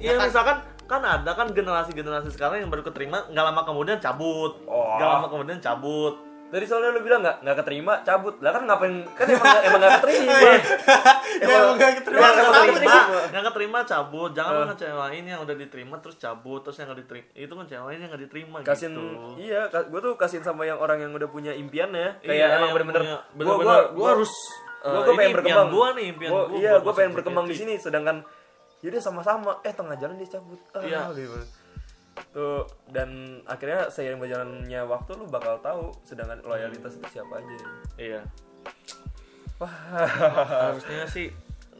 Speaker 3: Iya
Speaker 5: Ya kan?
Speaker 3: misalkan kan ada kan generasi-generasi sekarang yang baru keterima nggak lama kemudian cabut,
Speaker 4: Oh.
Speaker 3: nggak lama kemudian cabut.
Speaker 4: Dari soalnya lu bilang nggak nggak keterima, cabut. Lah kan ngapain? Kan emang nggak- emang nggak keterima.
Speaker 5: Ya emang nggak keterima.
Speaker 3: Yang
Speaker 4: Nggak
Speaker 3: keterima,
Speaker 4: keterima.
Speaker 3: yang keterima cabut, jangan
Speaker 5: Eh.
Speaker 3: lu ngecewain yang udah diterima terus cabut terus yang nggak diterima itu ngecewain yang nggak diterima
Speaker 4: Kasihin
Speaker 3: gitu.
Speaker 4: iya, gue tuh kasihin sama yang orang yang udah punya impiannya. Kayak
Speaker 3: Iya,
Speaker 4: emang
Speaker 3: yang
Speaker 4: bener-bener
Speaker 3: punya-
Speaker 4: gua-
Speaker 3: bener-bener,
Speaker 4: gua-
Speaker 3: gua
Speaker 4: gua
Speaker 3: harus,
Speaker 4: gua,
Speaker 3: eh,
Speaker 4: gua
Speaker 3: ini
Speaker 4: pengen
Speaker 3: impian
Speaker 4: berkembang.
Speaker 3: gua nih, impian
Speaker 4: Gua-
Speaker 3: gua
Speaker 4: Iya,
Speaker 3: buat
Speaker 4: gue
Speaker 3: masuk
Speaker 4: pengen berkembang di
Speaker 3: JKT.
Speaker 4: sini sedangkan yaudah sama sama eh tengah jalan dia cabut. Ah,
Speaker 3: Iya.
Speaker 4: gitu. Tuh dan akhirnya seiring berjalannya waktu lu bakal tahu sedangkan loyalitas itu siapa aja.
Speaker 3: Iya.
Speaker 4: Wah.
Speaker 3: Harusnya sih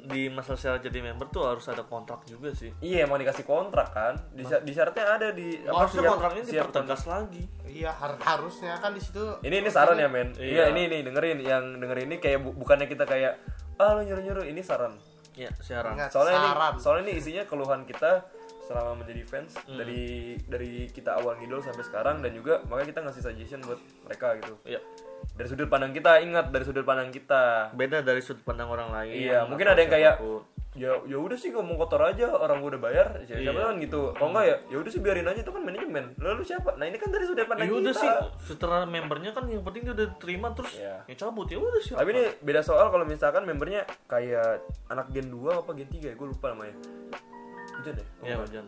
Speaker 3: di masalah syarat jadi member tuh harus ada kontrak juga sih.
Speaker 4: Iya emang dikasih kontrak kan. Di, sy- di syaratnya ada di apa
Speaker 3: Harusnya
Speaker 4: siap-
Speaker 3: Nah. kontraknya
Speaker 4: siap-
Speaker 3: dipertegas lagi.
Speaker 5: Iya har- harusnya kan di situ.
Speaker 4: ini ini saran ya men
Speaker 3: Iya.
Speaker 4: iya ini ini dengerin yang dengerin ini kayak bu- bukannya kita kayak ah lu nyuruh nyuruh ini saran
Speaker 3: Iya, syarat.
Speaker 5: Nggak,
Speaker 4: soalnya
Speaker 5: saran.
Speaker 4: ini soalnya ini isinya keluhan kita selama menjadi fans
Speaker 3: Hmm.
Speaker 4: dari dari kita awal ngidol sampai sekarang dan juga makanya kita ngasih suggestion buat mereka gitu
Speaker 3: Iya.
Speaker 4: dari sudut pandang kita ingat dari sudut pandang kita
Speaker 3: Beda dari sudut pandang orang lain.
Speaker 4: Iya, mungkin
Speaker 3: atau
Speaker 4: ada yang kayak
Speaker 3: siapapun.
Speaker 4: ya ya udah sih ngomong kotor aja orang gua udah bayar siapa siapa
Speaker 3: Iya.
Speaker 4: kan gitu kalau enggak ya ya udah sih biarin aja itu kan manajemen lalu siapa nah ini kan dari sudut pandang
Speaker 3: Ya udah
Speaker 4: kita
Speaker 3: sih, setelah membernya kan yang penting dia udah terima terus
Speaker 4: Iya.
Speaker 3: ya cabut ya udah sih.
Speaker 4: Tapi ini beda soal kalau misalkan membernya kayak anak gen 2 apa gen 3 ya, gue lupa namanya. Hujan
Speaker 3: ya
Speaker 4: ya?
Speaker 3: hujan.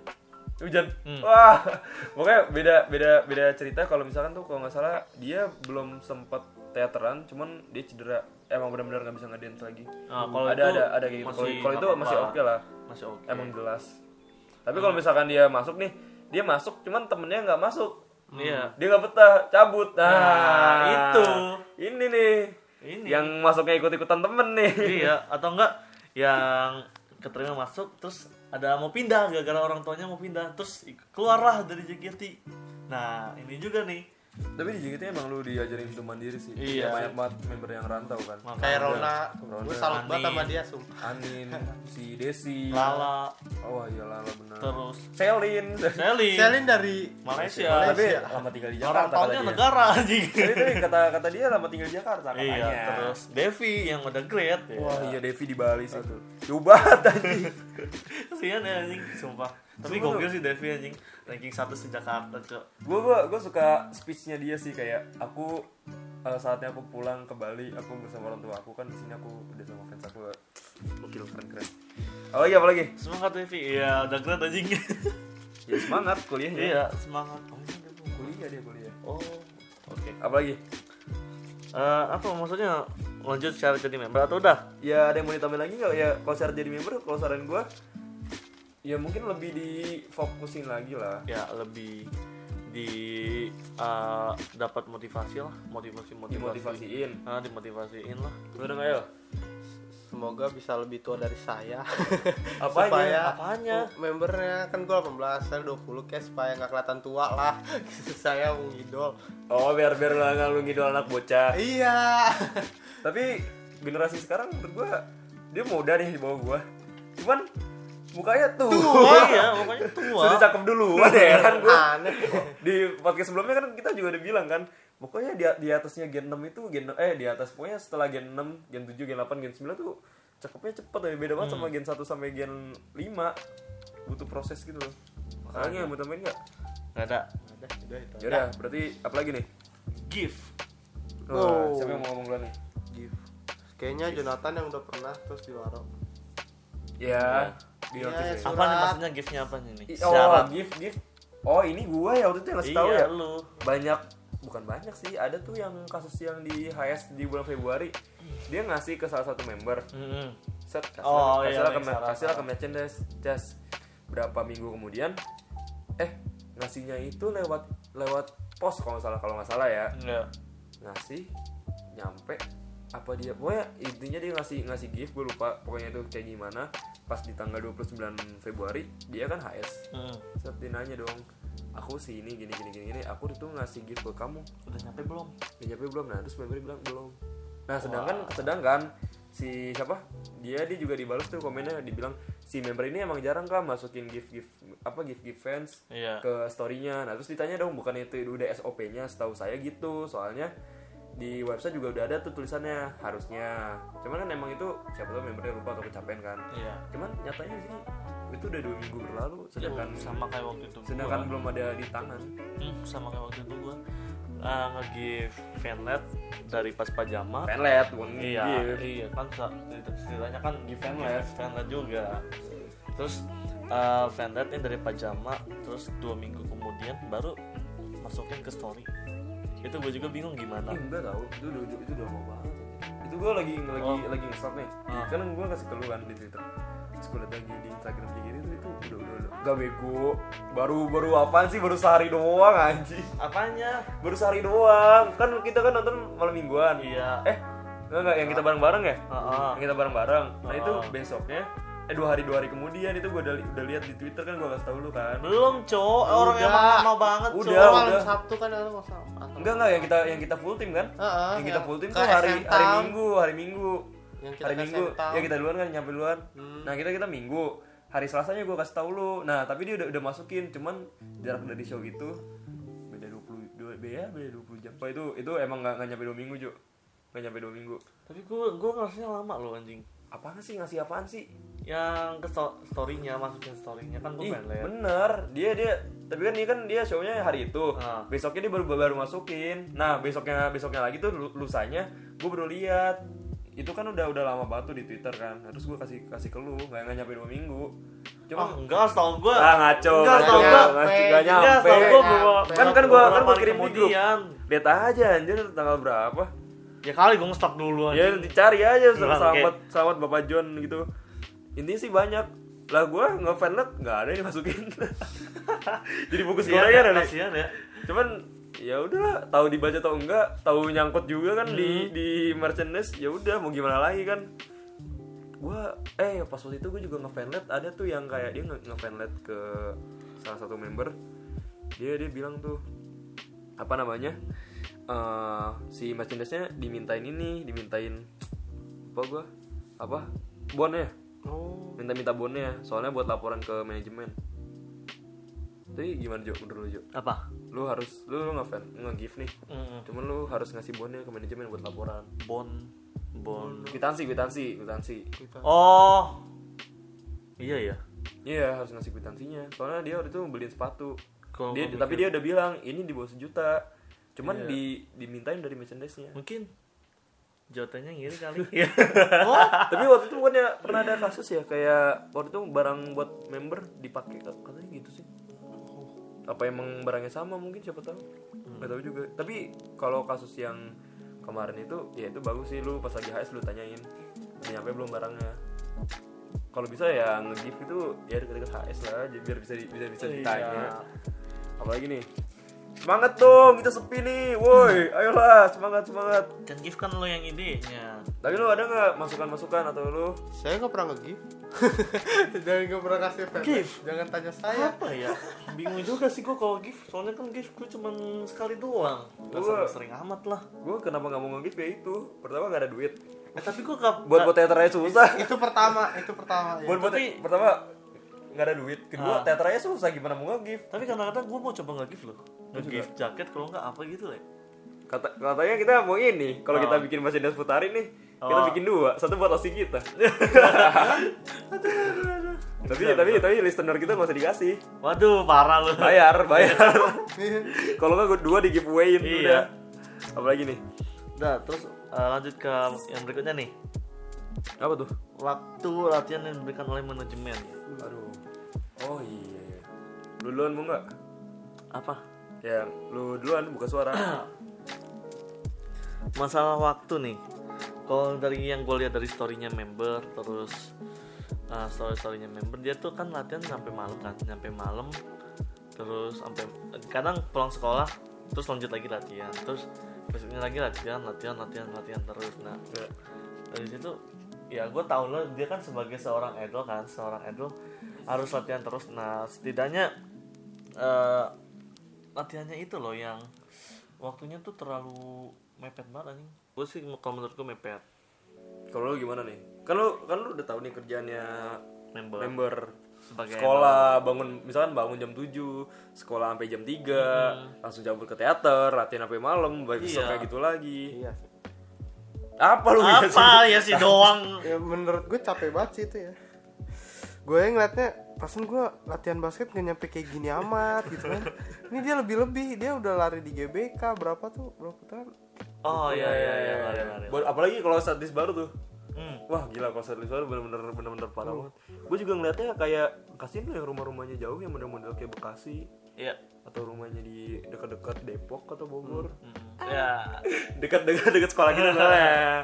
Speaker 3: Hmm.
Speaker 4: Hujan. Wah. Pokoknya beda beda beda cerita kalau misalkan tuh kalau nggak salah dia belum sempat teateran, cuman dia cedera. Emang benar-benar nggak bisa ngedance lagi.
Speaker 3: Nah, kalau
Speaker 4: ada
Speaker 3: itu
Speaker 4: ada ada kayak gitu. Kalau-
Speaker 3: masih
Speaker 4: Kalau itu
Speaker 3: nggak
Speaker 4: masih
Speaker 3: apa-apa. Iya. Hmm.
Speaker 4: oke lah.
Speaker 3: Masih oke.
Speaker 4: Emang jelas. Tapi kalau misalkan dia masuk nih, dia masuk cuman temennya nggak masuk.
Speaker 3: Iya.
Speaker 4: Dia nggak betah, cabut. Nah,
Speaker 3: Nah, itu.
Speaker 4: Ini nih.
Speaker 3: Ini.
Speaker 4: Yang masuknya ikut-ikutan temen nih.
Speaker 3: Iya, atau enggak yang keterima masuk terus ada mau pindah gara-gara orang tuanya mau pindah terus ik- keluarlah dari JKT. Nah, ini juga nih.
Speaker 4: Tapi di JKT emang lu diajarin hidup mandiri sih.
Speaker 3: Iya.
Speaker 4: Banyak banget member yang rantau kan.
Speaker 5: Kayak Rona,
Speaker 4: Rona.
Speaker 5: gue salut banget sama
Speaker 3: Amin.
Speaker 5: dia sumpah.
Speaker 4: Anin, si Desi.
Speaker 3: Lala
Speaker 4: Oh iya Lala bener.
Speaker 3: terus
Speaker 4: Selin.
Speaker 3: Selin,
Speaker 5: Selin dari
Speaker 3: Malaysia.
Speaker 4: Tapi
Speaker 5: Malaysia.
Speaker 4: lama tinggal di
Speaker 3: Orang
Speaker 4: Jakarta
Speaker 3: tuanya
Speaker 4: kata dia.
Speaker 3: negara anjing.
Speaker 4: Tapi tadi kata kata dia lama tinggal di Jakarta katanya.
Speaker 3: Iya, terus Devi yang udah great.
Speaker 4: Wah iya Devi di Bali sih tuh. Coba tadi.
Speaker 3: Kasihan ya anjing, sumpah. Tapi
Speaker 4: Sumpah
Speaker 3: gokil sih Devi anjing, ranking 1 se Jakarta, Cok.
Speaker 4: gue gua, gua suka speechnya dia sih kayak aku eh, saatnya aku pulang ke Bali aku bersama orang tua aku kan di sini aku udah sama fans aku gokil keren keren Oh iya, apalagi apalagi
Speaker 3: Semangat Devi. Iya, udah great anjing.
Speaker 4: ya semangat kuliahnya
Speaker 3: iya, semangat. Oh, iya, dia belum kuliah.
Speaker 4: kuliah dia kuliah
Speaker 3: Oh, oke.
Speaker 4: apalagi
Speaker 3: Eh, apa maksudnya lanjut syarat jadi member atau udah?
Speaker 4: ya ada yang mau ditambahin lagi nggak ya kalau syarat jadi member kalau saran gue ya mungkin lebih difokusin lagi lah
Speaker 3: ya lebih di eh, dapat motivasi lah motivasi motivasi
Speaker 4: dimotivasiin
Speaker 3: ah dimotivasiin lah
Speaker 4: lu dong ayo
Speaker 5: Semoga bisa lebih tua dari saya.
Speaker 4: Apanya?
Speaker 5: Supaya
Speaker 3: Apanya?
Speaker 5: Membernya kan gue 18, saya 20 kayak supaya nggak kelihatan tua lah. saya mau ngidol.
Speaker 4: oh biar biar nggak nggak lu ngidol anak bocah
Speaker 5: Iya.
Speaker 4: tapi generasi sekarang menurut gua dia muda nih di bawah gua cuman mukanya tuh
Speaker 3: tua ya pokoknya tua
Speaker 4: sudah cakep dulu ada heran Kan gua
Speaker 5: Aneh.
Speaker 4: di podcast sebelumnya kan kita juga udah bilang kan pokoknya di, di atasnya gen 6 itu gen eh di atas pokoknya setelah gen 6 gen 7 gen 8 gen 9 tuh cakepnya cepet tapi beda banget
Speaker 5: Hmm.
Speaker 4: sama gen 1 sampai gen 5 butuh proses gitu loh makanya mau tambahin nggak
Speaker 3: nggak ada
Speaker 4: yaudah berarti apa lagi nih
Speaker 3: gift
Speaker 4: Wah,
Speaker 5: Oh.
Speaker 4: siapa yang mau ngomong duluan nih
Speaker 5: Kayaknya Jonathan yang udah pernah terus di warung.
Speaker 4: ya di
Speaker 5: Iya,
Speaker 4: notice ya.
Speaker 5: surat.
Speaker 3: apa nih maksudnya giftnya apa nih nih
Speaker 4: I- oh
Speaker 3: syarat
Speaker 4: gift gift oh ini gua ya waktu itu yang ngasih tahu
Speaker 3: iya
Speaker 4: ya
Speaker 3: lu
Speaker 4: banyak bukan banyak sih ada tuh yang kasus yang di HS di bulan Februari dia ngasih ke salah satu member
Speaker 3: Mm-mm.
Speaker 4: set kasih
Speaker 3: Oh, iya,
Speaker 4: kasihlah
Speaker 3: iya,
Speaker 4: ke,
Speaker 3: salah,
Speaker 4: kasihlah ke
Speaker 3: salah.
Speaker 4: merchandise jas berapa minggu kemudian eh ngasihnya itu lewat lewat pos kalau nggak salah kalau nggak salah ya
Speaker 3: Nggak.
Speaker 4: ngasih nyampe apa dia pokoknya intinya dia ngasih ngasih gift gue lupa pokoknya itu kayak gimana pas di tanggal 29 Februari dia kan HS
Speaker 3: Mm.
Speaker 4: set dia nanya dong aku sih ini gini gini gini gini aku tuh ngasih gift ke kamu
Speaker 3: udah nyampe belum
Speaker 4: udah nyampe belum nah terus member bilang belum nah sedangkan sedangkan si siapa dia dia juga dibalas tuh komennya dibilang si member ini emang jarang kan masukin gift gift apa gift gift fans
Speaker 3: iya
Speaker 4: ke storynya nah terus ditanya dong bukan itu udah SOP-nya setahu saya gitu soalnya di website juga udah ada tuh tulisannya harusnya cuman kan emang itu siapa tahu membernya lupa atau kecapean kan
Speaker 3: iya
Speaker 4: cuman nyatanya sih itu udah dua minggu berlalu sedangkan
Speaker 3: Ya, sama kayak waktu itu
Speaker 4: sedangkan
Speaker 3: gua.
Speaker 4: belum ada di tangan
Speaker 3: Hmm, sama kayak waktu itu gua eh, nge-give fanlet dari pas pajama
Speaker 4: penlet bukan
Speaker 3: Iya,
Speaker 4: gift.
Speaker 3: iya kan sa- ceritanya kan di fanlet, fanlet juga. Terus uh, fanletnya dari pajama, terus dua minggu kemudian baru masukin ke story. Itu gue juga bingung
Speaker 4: Ih,
Speaker 3: gimana.
Speaker 4: enggak tahu itu udah itu udah lama banget itu gue lagi lagi
Speaker 3: Oh.
Speaker 4: lagi ngesot nih
Speaker 3: Ah.
Speaker 4: kan gue kasih keluhan di twitter terus gue liat lagi di instagram kayak gini tuh itu udah udah udah gak bego baru baru apaan sih baru sehari doang anjing
Speaker 3: Apanya?
Speaker 4: baru sehari doang kan kita kan nonton malam mingguan
Speaker 3: Iya.
Speaker 4: eh enggak enggak yang kita bareng bareng ya
Speaker 3: Heeh.
Speaker 4: yang kita bareng bareng nah itu
Speaker 3: Ah.
Speaker 4: besoknya eh dua hari dua hari kemudian itu gue udah, li- udah lihat di twitter kan gue kasih tau lu kan
Speaker 3: Belum, Cok. Orang
Speaker 5: Udah.
Speaker 3: emang lama banget, Cok.
Speaker 4: Udah,
Speaker 5: malam
Speaker 4: udah.
Speaker 5: Sabtu kan ada masa.
Speaker 4: enggak enggak yang kita yang kita full team kan
Speaker 5: Heeh,
Speaker 4: yang kita
Speaker 5: yang
Speaker 4: full team
Speaker 5: ke
Speaker 4: tuh hari
Speaker 5: SM
Speaker 4: hari
Speaker 5: Town.
Speaker 4: minggu hari minggu
Speaker 5: Yang kita
Speaker 4: hari
Speaker 5: ke
Speaker 4: minggu
Speaker 5: Sentam.
Speaker 4: ya kita duluan kan nyampe duluan
Speaker 5: Hmm.
Speaker 4: nah kita kita minggu hari selasanya gue kasih tau lu nah tapi dia udah udah masukin cuman jarak dari show gitu beda 20 dua beda beda 20 jam Wah, itu itu emang nggak nggak nyampe dua minggu Jo nggak nyampe dua minggu
Speaker 3: Tapi gue gue ngerasanya lama loh anjing.
Speaker 4: apaan sih ngasih apaan sih
Speaker 3: Yang ke sto- story-nya masukin story-nya kan gue
Speaker 4: Ih,
Speaker 3: fanlet.
Speaker 4: bener dia dia tapi kan ini kan dia shownya hari itu
Speaker 3: Ah.
Speaker 4: besoknya dia baru baru masukin nah besoknya besoknya lagi tuh lu- lusanya gue baru lihat itu kan udah udah lama batu di twitter kan Nah, terus gue kasih kasih ke lu nggak nggak nyampe dua minggu
Speaker 3: Ah,
Speaker 4: cuma
Speaker 3: enggak, setahu gue.
Speaker 4: ah ngaco
Speaker 3: Enggak,
Speaker 4: ngaco
Speaker 3: setahu gua.
Speaker 4: nggak nyampe
Speaker 3: Enggak, setahu gue bawa
Speaker 4: kan kan gue kan
Speaker 3: beberapa
Speaker 4: gua
Speaker 3: hari
Speaker 4: kirim di grup
Speaker 3: kemudian.
Speaker 4: lihat aja anjir tanggal berapa
Speaker 3: Ya kali gue nge-stop dulu
Speaker 4: ya
Speaker 3: anjing.
Speaker 4: nanti cari aja
Speaker 3: Bangke.
Speaker 4: sama sahabat sahabat bapak John gitu intinya sih banyak lah gue ngefanlet nggak ada yang dimasukin jadi bungkus
Speaker 3: Kasihan
Speaker 4: gorengan ada
Speaker 3: Iya, kasihan ya.
Speaker 4: cuman ya udahlah tahu dibaca atau enggak tahu nyangkut juga kan di di merchandise ya udah mau gimana lagi kan gue eh pas waktu itu gue juga ngefanlet ada tuh yang kayak dia nge- ngefanlet ke salah satu member dia dia bilang tuh apa namanya eh si merchandise-nya dimintain ini dimintain apa gue apa bonnya
Speaker 5: Oh.
Speaker 4: minta-minta bonnya soalnya buat laporan ke manajemen tapi gimana Jo menurut lu Jo
Speaker 3: Apa?
Speaker 4: lu harus lu, lu ngefan nge-give nih cuman lu harus ngasih bonnya ke manajemen buat laporan
Speaker 3: Bon bon.
Speaker 4: kwitansi kwitansi kwitansi
Speaker 3: Oh. Iya ya.
Speaker 4: iya harus ngasih kwitansinya soalnya dia waktu itu beliin sepatu
Speaker 3: Kalau
Speaker 4: dia,
Speaker 3: gua
Speaker 4: tapi dia udah bilang ini di bawah sejuta cuman di dimintain dari merchandise nya
Speaker 3: Mungkin jawabannya ngiri kali.
Speaker 4: Iya. tapi waktu itu bukannya pernah ada kasus ya kayak waktu itu barang buat member dipakai katanya gitu sih apa emang barangnya sama mungkin siapa tahu nggak tahu juga tapi kalau kasus yang kemarin itu ya itu bagus sih lu pas lagi HS lu tanyain udah nyampe belum barangnya kalau bisa ya nge-give itu ya deket-deket HS lah jadi biar bisa di- bisa bisa ditanya apalagi nih semangat dong kita sepi nih woi ayolah semangat semangat
Speaker 3: Kan gift kan lo yang idenya.
Speaker 4: tapi lu ada nggak masukan masukan atau lu
Speaker 5: Saya nggak pernah nge-give. Jangan nggak pernah kasih feedback.
Speaker 3: Give?
Speaker 5: Jangan tanya saya.
Speaker 3: Apa ya? Bingung juga sih gue kalau gift. Soalnya kan gift gue cuman sekali doang. Gak
Speaker 4: Gua-
Speaker 3: sampai sering amat lah.
Speaker 4: gue kenapa nggak mau nge-give ya itu pertama nggak ada duit
Speaker 3: Eh, tapi gue gak
Speaker 4: buat buat teater aja susah
Speaker 5: Itu pertama, itu pertama. ya.
Speaker 4: buat buat
Speaker 3: Iya. Tapi-
Speaker 4: pertama nggak ada duit
Speaker 3: Ah.
Speaker 4: kedua teater aja susah gimana mau nge-give
Speaker 3: tapi kadang-kadang gue mau coba nggak gift loh. Nggak gift jaket kalau nggak apa gitu lah.
Speaker 4: Kata, katanya kita mau ini kalau kita
Speaker 3: Ah.
Speaker 4: bikin mesin dan putarin nih kita
Speaker 3: Oh.
Speaker 4: bikin dua satu buat hosting kita tapi tapi tapi listener kita masih dikasih
Speaker 3: Waduh parah lo.
Speaker 4: bayar bayar kalau nggak gua dua di giveawayin
Speaker 3: Iya.
Speaker 4: udah apalagi nih
Speaker 3: Nah terus eh, lanjut ke yang berikutnya nih.
Speaker 4: apa tuh
Speaker 3: Waktu latihan yang diberikan oleh manajemen.
Speaker 4: aduh oh iya iya. lu duluan mau nggak
Speaker 3: Apa?
Speaker 4: ya lu duluan buka suara
Speaker 3: masalah waktu nih kalau dari yang gue lihat dari storynya member terus uh, story storynya member dia tuh kan latihan sampai malam kan sampai malam terus sampai kadang pulang sekolah terus lanjut lagi latihan terus besoknya lagi latihan latihan latihan latihan terus nah
Speaker 4: Ya.
Speaker 3: dari situ ya gue tau lah dia kan sebagai seorang idol kan seorang idol harus latihan terus nah setidaknya eh, latihannya itu loh yang waktunya tuh terlalu mepet banget anjing gue sih kalau menurut gue mepet
Speaker 4: kalau lu gimana nih kan lu kan lu udah tahu nih kerjaannya
Speaker 3: member,
Speaker 4: member
Speaker 3: sebagai
Speaker 4: sekolah bangun misalkan bangun jam 7 sekolah sampai jam 3 langsung cabut ke teater latihan sampai malam balik
Speaker 3: Mm-hmm.
Speaker 4: besok
Speaker 3: Iya.
Speaker 4: kayak gitu lagi
Speaker 5: Iya. sih.
Speaker 4: apa lu
Speaker 3: idol.
Speaker 4: biasa?
Speaker 3: apa ya sih doang
Speaker 5: Ya menurut gue capek banget sih itu ya. Gue yang ngeliatnya, pasan gue latihan basket gak nyampe kayak gini amat gitu kan. Ini dia lebih-lebih, dia udah lari di GBK berapa tuh? Berapa tahun?
Speaker 3: oh iya iya iya lari, lari.
Speaker 4: Bo- apalagi kalau statis baru tuh
Speaker 3: Hmm.
Speaker 4: wah gila kalau statis baru bener-bener bener-bener parah banget gue juga ngeliatnya kayak kasihin lu yang rumah-rumahnya jauh yang model-model kayak Bekasi
Speaker 3: iya
Speaker 4: atau rumahnya di dekat-dekat Depok atau Bogor
Speaker 3: Hmm. ya
Speaker 4: dekat-dekat dekat sekolah gitu kita
Speaker 3: Iya.
Speaker 4: lah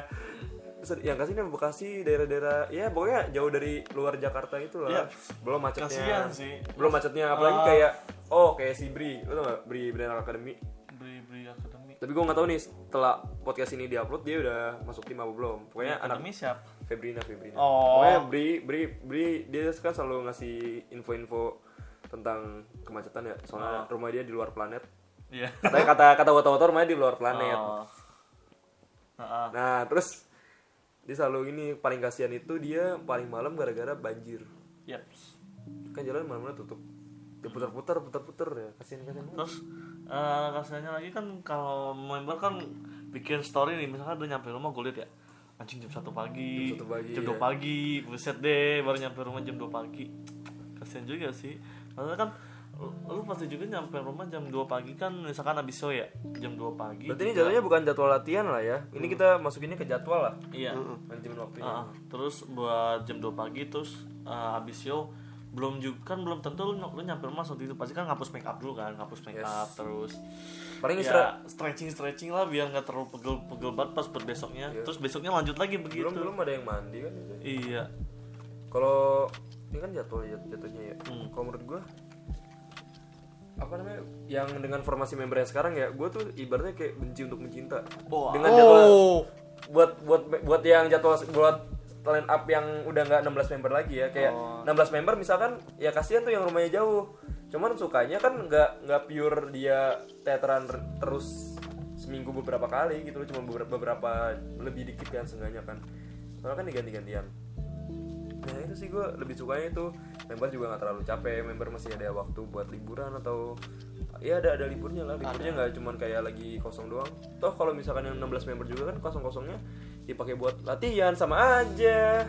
Speaker 4: yang kasih nih Bekasi daerah-daerah ya pokoknya jauh dari luar Jakarta itu lah
Speaker 3: Iya.
Speaker 4: belum macetnya
Speaker 3: Kasihan sih.
Speaker 4: belum macetnya apalagi
Speaker 3: Ah.
Speaker 4: kayak oh kayak si Bri lu tau gak Bri Benar Academy
Speaker 3: beri beri akademi
Speaker 4: tapi gue nggak tahu nih setelah podcast ini diupload dia udah masuk tim apa belum pokoknya
Speaker 3: Iya,
Speaker 4: anak
Speaker 3: akademi Ya, siapa
Speaker 4: Febrina Febrina
Speaker 3: Oh.
Speaker 4: pokoknya Bri Bri Bri dia kan selalu ngasih info-info tentang kemacetan
Speaker 3: Ah.
Speaker 4: ya soalnya rumah dia di luar planet
Speaker 3: iya
Speaker 4: katanya kata kata wata-wata rumahnya di luar planet
Speaker 3: Oh. Ah, ah.
Speaker 4: Nah, terus dia selalu ini paling kasihan itu dia paling malam gara-gara banjir.
Speaker 3: Yaps.
Speaker 4: Kan jalan malam-malam tutup. Dia putar-putar, putar-putar ya. Kasihan kasihan. banget.
Speaker 3: terus eh rasanya lagi kan kalau member kan bikin story nih misalkan udah nyampe rumah gue liat ya anjing jam satu pagi
Speaker 4: Jam 1 pagi,
Speaker 3: jam 2
Speaker 4: ya.
Speaker 3: pagi buset deh baru nyampe rumah jam 2 pagi kasian juga sih karena kan lu- lu pasti juga nyampe rumah jam 2 pagi kan misalkan abis show ya jam 2 pagi
Speaker 4: Berarti ini jadwalnya bukan jadwal latihan lah ya. Ini kita masukinnya ke jadwal lah.
Speaker 3: iya
Speaker 4: Manajemen waktunya.
Speaker 3: Ah, terus buat jam 2 pagi terus eh, abis show belum juga kan belum tentu lu, lu nyampe rumah waktu itu pasti kan ngapus make up dulu kan ngapus make up terus
Speaker 4: Paling istirahat.
Speaker 3: ya, stretching stretching lah biar nggak terlalu pegel pegel banget pas buat besoknya terus besoknya lanjut lagi begitu
Speaker 4: Belum belum ada yang mandi kan. gitu.
Speaker 3: iya
Speaker 4: Kalau ini kan jadwal jat- jatuhnya ya.
Speaker 3: Hmm.
Speaker 4: Kalau menurut gua apa namanya yang dengan formasi member yang sekarang ya gue tuh ibaratnya kayak benci untuk mencinta
Speaker 3: Wah.
Speaker 4: dengan jadwal
Speaker 3: Oh.
Speaker 4: buat buat buat yang jadwal buat line up yang udah nggak 16 member lagi ya kayak 16 member misalkan ya kasihan tuh yang rumahnya jauh cuman sukanya kan nggak nggak pure dia teateran r- terus seminggu beberapa kali gitu loh cuma beberapa, beberapa lebih dikit kan seenggaknya kan soalnya kan diganti-gantian nah itu sih gue lebih sukanya itu member juga nggak terlalu capek member masih ada waktu buat liburan atau ya ada ada liburnya lah liburnya nggak cuman kayak lagi kosong doang toh kalau misalkan yang 16 member juga kan kosong kosongnya dipakai buat latihan sama aja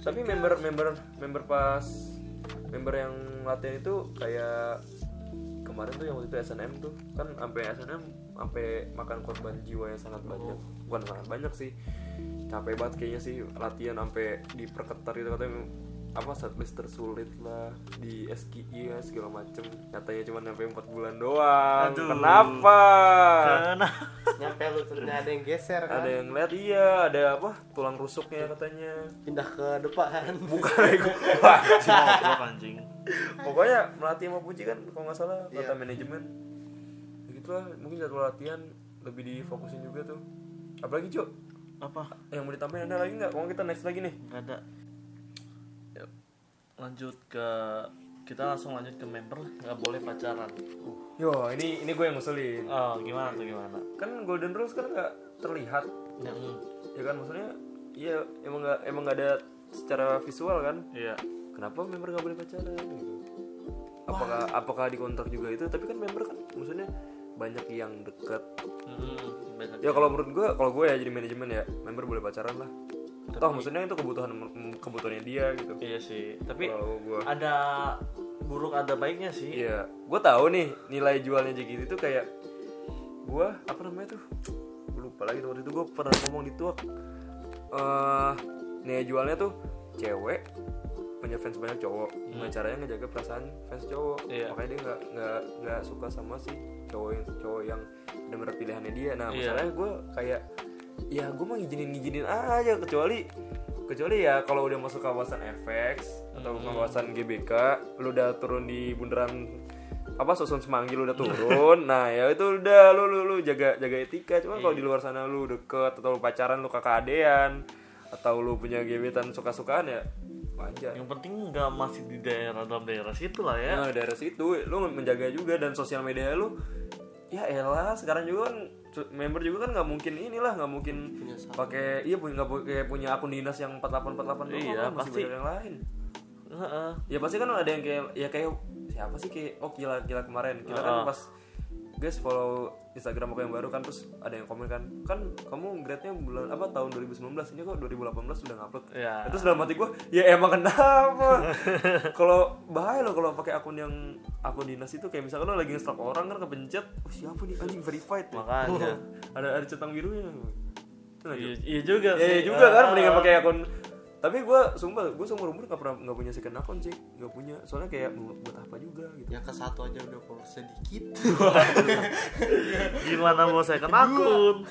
Speaker 4: tapi member member member pas member yang latihan itu kayak kemarin tuh yang waktu itu SNM tuh kan sampai SNM sampai makan korban jiwa yang sangat banyak bukan sangat banyak sih capek banget kayaknya sih latihan sampai diperketar gitu katanya apa setlist tersulit lah di SKI ya, segala macem nyatanya cuma sampai 4 bulan doang
Speaker 3: Aduh. Kan?
Speaker 4: kenapa
Speaker 3: Karena
Speaker 5: nyampe lu ternyata ada yang geser kan
Speaker 4: ada yang lihat iya ada apa tulang rusuknya katanya
Speaker 5: pindah ke depan
Speaker 4: bukan ego Wah,
Speaker 3: goblok anjing.
Speaker 4: pokoknya melatih sama Puji kan kalau nggak salah
Speaker 5: Iya.
Speaker 4: kata manajemen begitulah mungkin jadwal latihan lebih difokusin juga tuh apalagi cuk Eh,
Speaker 3: Apa?
Speaker 4: yang mau ditambahin ada lagi nggak? Kalau kita next lagi nih.
Speaker 3: Enggak ada. Ya, Lanjut ke kita langsung lanjut ke member nggak boleh pacaran.
Speaker 4: Yo, ini ini gue yang ngusulin.
Speaker 3: Oh, gimana tuh gimana?
Speaker 4: Kan golden rules kan nggak terlihat,
Speaker 3: Ya, hmm.
Speaker 4: ya kan? Maksudnya, iya emang nggak emang nggak ada secara visual kan?
Speaker 3: Iya.
Speaker 4: Kenapa member nggak boleh pacaran? Gitu. Apakah apakah dikontrak juga itu? Tapi kan member kan maksudnya banyak yang dekat.
Speaker 3: Hmm, banyak.
Speaker 4: Ya kalau menurut gue, kalau gue ya jadi manajemen ya, member boleh pacaran lah. Toh maksudnya itu kebutuhan kebutuhannya dia gitu.
Speaker 3: Iya sih. Tapi
Speaker 4: Kalau gue
Speaker 3: ada buruk ada baiknya sih.
Speaker 4: Iya, gue tahu nih nilai jualnya JKT itu kayak gue apa namanya tuh? Gue lupa lagi tuh, waktu itu gue pernah ngomong di tuak. Eh, nilai jualnya tuh cewek punya fans banyak cowok. Gimana caranya ngejaga perasaan fans cowok?
Speaker 3: Hmm. Iya.
Speaker 4: Makanya dia nggak nggak nggak suka sama si cowok yang cowok yang benar pilihannya dia. Nah,
Speaker 3: Iya.
Speaker 4: masalahnya gue kayak ya gue mah ngizinin ngizinin aja kecuali kecuali ya kalau udah masuk kawasan FX atau kawasan GBK lu udah turun di bundaran apa susun semanggi lu udah turun nah ya itu udah lu lu, lu jaga jaga etika cuman kalau di luar sana lu deket atau lu pacaran lu kakak adean atau lu punya gebetan suka sukaan ya wajar
Speaker 3: Yang penting nggak masih di daerah dalam daerah situ lah ya.
Speaker 4: Nah, daerah situ lu menjaga juga dan sosial media lu ya elah sekarang juga kan su- member juga kan nggak mungkin inilah nggak mungkin pakai iya punya nggak pakai punya akun dinas yang 4848
Speaker 3: Iya,
Speaker 4: doang kan, masih
Speaker 3: pasti.
Speaker 4: banyak yang lain
Speaker 3: Heeh.
Speaker 4: ya pasti kan ada yang kayak ya kayak siapa sih kayak oh gila gila kemarin kita
Speaker 3: Heeh.
Speaker 4: kan pas guys follow Instagram aku yang baru kan terus ada yang komen kan kan kamu grade-nya bulan apa tahun 2019 ini kok 2018 sudah ngupload
Speaker 3: Iya.
Speaker 4: Nah, Terus dalam hati gue, ya emang kenapa? kalau bahaya loh kalau pakai akun yang akun dinas itu kayak misalkan lo lagi nge-stalk orang kan kepencet, oh siapa nih anjing verified ya?
Speaker 3: Makanya.
Speaker 4: ada ada centang birunya. Itu nggak,
Speaker 3: Iya
Speaker 4: Jok?
Speaker 3: iya juga
Speaker 4: Ya,
Speaker 3: sih.
Speaker 4: ya Oh. juga kan
Speaker 3: Ah,
Speaker 4: mendingan pakai akun tapi gue sumpah gue seumur umur nggak pernah nggak punya second akun sih nggak punya soalnya kayak bu- buat apa juga gitu
Speaker 5: yang Ya, ke satu aja udah follow sedikit
Speaker 3: Gimana mau Ah. saya kena akun?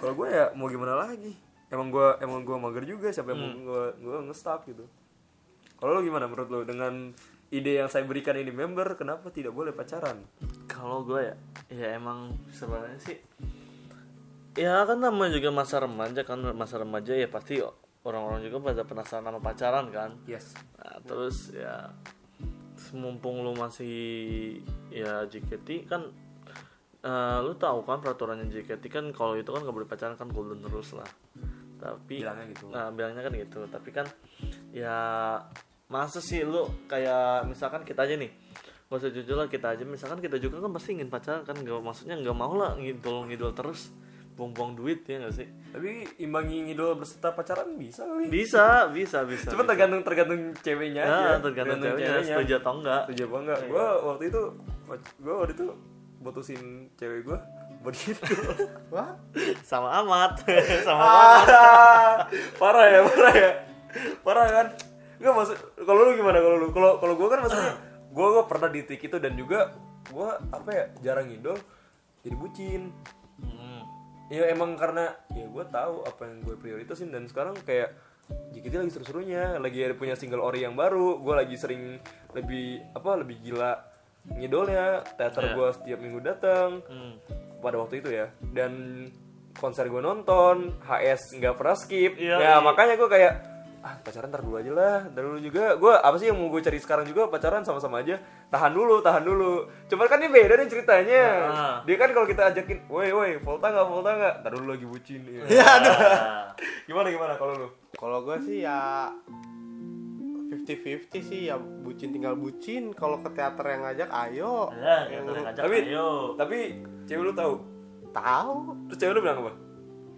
Speaker 4: kalau gue ya mau gimana lagi emang gue emang gue mager juga siapa yang
Speaker 3: Hmm.
Speaker 4: mau gue gue nge-stalk gitu kalau lo gimana menurut lo dengan ide yang saya berikan ini member kenapa tidak boleh pacaran
Speaker 3: kalau gue ya ya emang sebenarnya sih ya kan namanya juga masa remaja kan masa remaja ya pasti orang-orang juga pada penasaran sama pacaran kan
Speaker 4: Yes.
Speaker 3: nah, terus ya terus mumpung lu masih ya JKT kan eh, lu tahu kan peraturannya JKT kan kalau itu kan gak boleh pacaran kan golden terus lah tapi
Speaker 4: Bilangnya gitu.
Speaker 3: nah bilangnya kan gitu tapi kan ya masa sih lu kayak misalkan kita aja nih gak usah jujur lah kita aja misalkan kita juga kan pasti ingin pacaran kan gak maksudnya nggak mau lah ngidol ngidol terus buang-buang duit ya gak sih
Speaker 4: Tapi imbangi ngidol berserta pacaran bisa kali.
Speaker 3: bisa bisa bisa
Speaker 4: Cuma
Speaker 3: bisa.
Speaker 4: tergantung tergantung ceweknya aja.
Speaker 3: Nah, tergantung ceweknya setuju atau enggak
Speaker 4: Setuju apa enggak? Gua waktu itu gua waktu itu putusin cewek gua gitu. begitu.
Speaker 5: wah
Speaker 3: sama amat sama
Speaker 4: Ah, parah ya, parah ya. Parah kan? Enggak maksud kalau lu gimana kalau lu? Kalau kalau gua kan maksudnya gua gua pernah di titik itu dan juga gua apa ya jarang ngidol jadi bucin.
Speaker 3: Hmm.
Speaker 4: Ya emang karena ya gue tahu apa yang gue prioritasin dan sekarang kayak JKT lagi seru-serunya, lagi ada punya single ori yang baru, gue lagi sering lebih apa lebih gila ngidolnya, teater
Speaker 3: Iya.
Speaker 4: gue setiap minggu datang
Speaker 3: Hmm.
Speaker 4: pada waktu itu ya dan konser gue nonton, HS nggak pernah skip,
Speaker 3: Iya,
Speaker 4: ya
Speaker 3: iya.
Speaker 4: makanya gue kayak ah pacaran ntar dulu aja lah, ntar dulu juga gue apa sih yang mau gue cari sekarang juga pacaran sama-sama aja, tahan dulu, tahan dulu, cuman kan ini beda nih ceritanya,
Speaker 3: Nah.
Speaker 4: dia kan kalau kita ajakin, woi woi, volta nggak, volta nggak, ntar dulu lagi bucin, ya.
Speaker 3: Ah.
Speaker 4: gimana gimana kalau lu?
Speaker 5: kalau gue sih ya 50-50 sih ya bucin tinggal bucin kalau ke teater yang ngajak ayo
Speaker 3: Ya, kita udah ngajak
Speaker 4: Tapi-
Speaker 3: ayo.
Speaker 4: Tapi cewek lu tahu,
Speaker 5: tahu
Speaker 4: terus cewek lu bilang apa?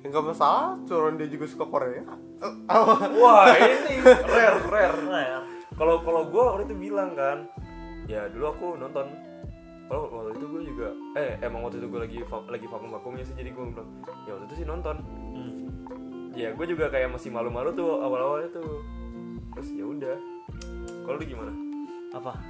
Speaker 5: nggak masalah turun dia juga suka Korea Eh,
Speaker 4: Wah ini rare rare.
Speaker 3: Rare.
Speaker 4: Kalau kalau gue waktu itu bilang kan, ya dulu aku nonton. Kalau waktu itu gue juga, eh emang waktu itu gue lagi va- lagi vakum vakumnya sih jadi gue bilang, ya waktu itu sih nonton.
Speaker 3: Hmm.
Speaker 4: Ya gue juga kayak masih malu-malu tuh awal-awalnya tuh. Terus ya udah, Kalau lu gimana?
Speaker 3: Apa?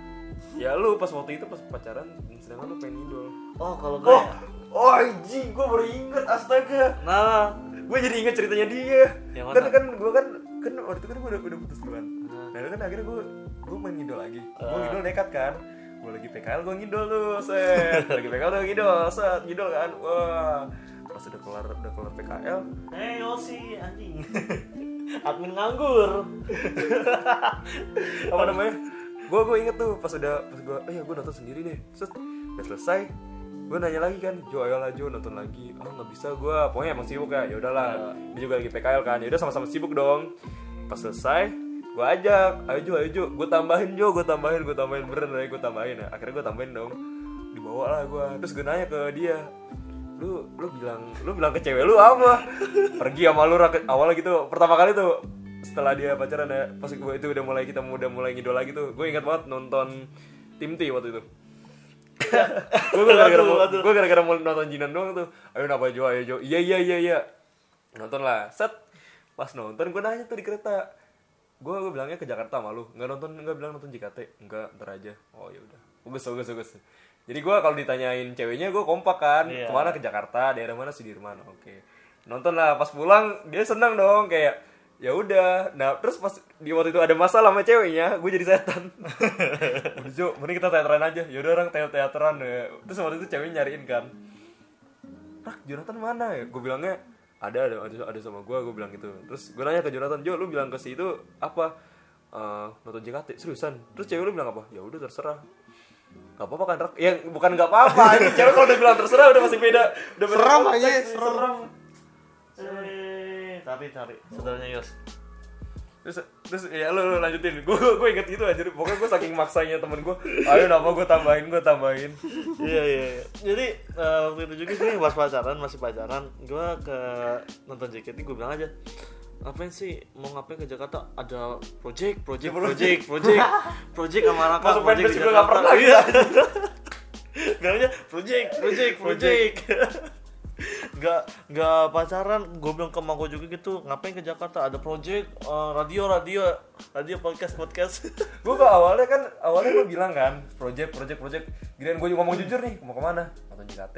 Speaker 4: Ya lu pas waktu itu pas pacaran, sedangkan lu pengen idol.
Speaker 3: Oh, kalau gue
Speaker 4: Oh,
Speaker 3: ya.
Speaker 4: oh anjing, gue baru inget astaga.
Speaker 3: Nah,
Speaker 4: Gue jadi inget ceritanya dia.
Speaker 3: Yang
Speaker 4: Kan
Speaker 3: mana?
Speaker 4: kan gue kan kan waktu itu kan gue udah, udah putus duluan. Nah itu kan akhirnya gue gue main ngidol lagi. Gue ngidol nekat kan. Gue lagi PKL gue ngidol tuh, set. lagi PKL gue ngidol, set. Ngidol kan, wah. Pas udah kelar udah kelar PKL,
Speaker 3: eh Yosi anjing. Admin nganggur.
Speaker 4: apa namanya gue gue inget tuh pas udah pas gue eh gue nonton sendiri deh terus udah selesai gue nanya lagi kan Jo ayolah Jo nonton lagi ah nggak bisa gue pokoknya emang sibuk ya ya udahlah dia juga lagi PKL kan ya udah sama-sama sibuk dong pas selesai gue ajak ayo Jo ayo Jo gue tambahin Jo gue tambahin gue tambahin beneran gue tambahin ya akhirnya gue tambahin dong dibawa lah gue terus gue nanya ke dia lu lu bilang lu bilang ke cewek lu apa pergi sama lu rak- awalnya gitu pertama kali tuh setelah dia pacaran ya pas gue itu udah mulai kita udah mulai ngidol lagi tuh gue ingat banget nonton Tim T waktu itu gue gara-gara mau gue gara-gara mau nonton Jinan doang tuh ayo napa Jo ayo Jo iya iya iya iya nonton lah set pas nonton gue nanya tuh di kereta gue gue bilangnya ke Jakarta malu nggak nonton nggak bilang nonton JKT nggak ntar aja oh ya udah bagus bagus bagus jadi gue kalau ditanyain ceweknya gue kompak kan kemana ke Jakarta daerah mana Sudirman oke nonton lah pas pulang dia senang dong kayak ya udah nah terus pas di waktu itu ada masalah sama ceweknya gue jadi setan Udah, Jo mending kita teateran aja yaudah orang teateran ya. terus waktu itu cewek nyariin kan Rak, Jonathan mana ya? Gue bilangnya ada ada ada, ada sama gue, gue bilang gitu. Terus gue nanya ke Jonathan, Jo, lu bilang ke si itu apa? Eh, nonton JKT seriusan. Terus cewek lu bilang apa? Ya udah terserah. Gak apa-apa kan Rak? Ya bukan gak apa-apa. Ini cewek kalau udah bilang terserah udah masih beda. Udah beda
Speaker 5: Serem
Speaker 4: konteks,
Speaker 5: aja,
Speaker 4: nih,
Speaker 5: serem.
Speaker 3: Eh, Cari cari
Speaker 4: Oh.
Speaker 3: saudaranya Yos.
Speaker 4: Terus, terus ya lu, lu lanjutin. Gue gue inget gitu aja. Pokoknya gue saking maksanya temen gue. Ayo nama gue tambahin, gue tambahin.
Speaker 3: iya iya iya. jadi eh, waktu itu juga gue pas pacaran masih pacaran gue ke nonton JKT gue bilang aja ngapain sih mau ngapain ke Jakarta ada project project project project project sama Raka
Speaker 4: Masuk
Speaker 3: project
Speaker 4: fanbase
Speaker 3: di
Speaker 4: juga
Speaker 3: Jakarta.
Speaker 4: nggak pernah.
Speaker 3: Iya. bilangnya project project project nggak nggak pacaran gue bilang ke emak gue juga gitu ngapain ke Jakarta ada project eh, radio radio radio podcast podcast
Speaker 4: gue kok awalnya kan awalnya gue bilang kan project project project giliran gue ngomong jujur nih mau kemana nonton JKT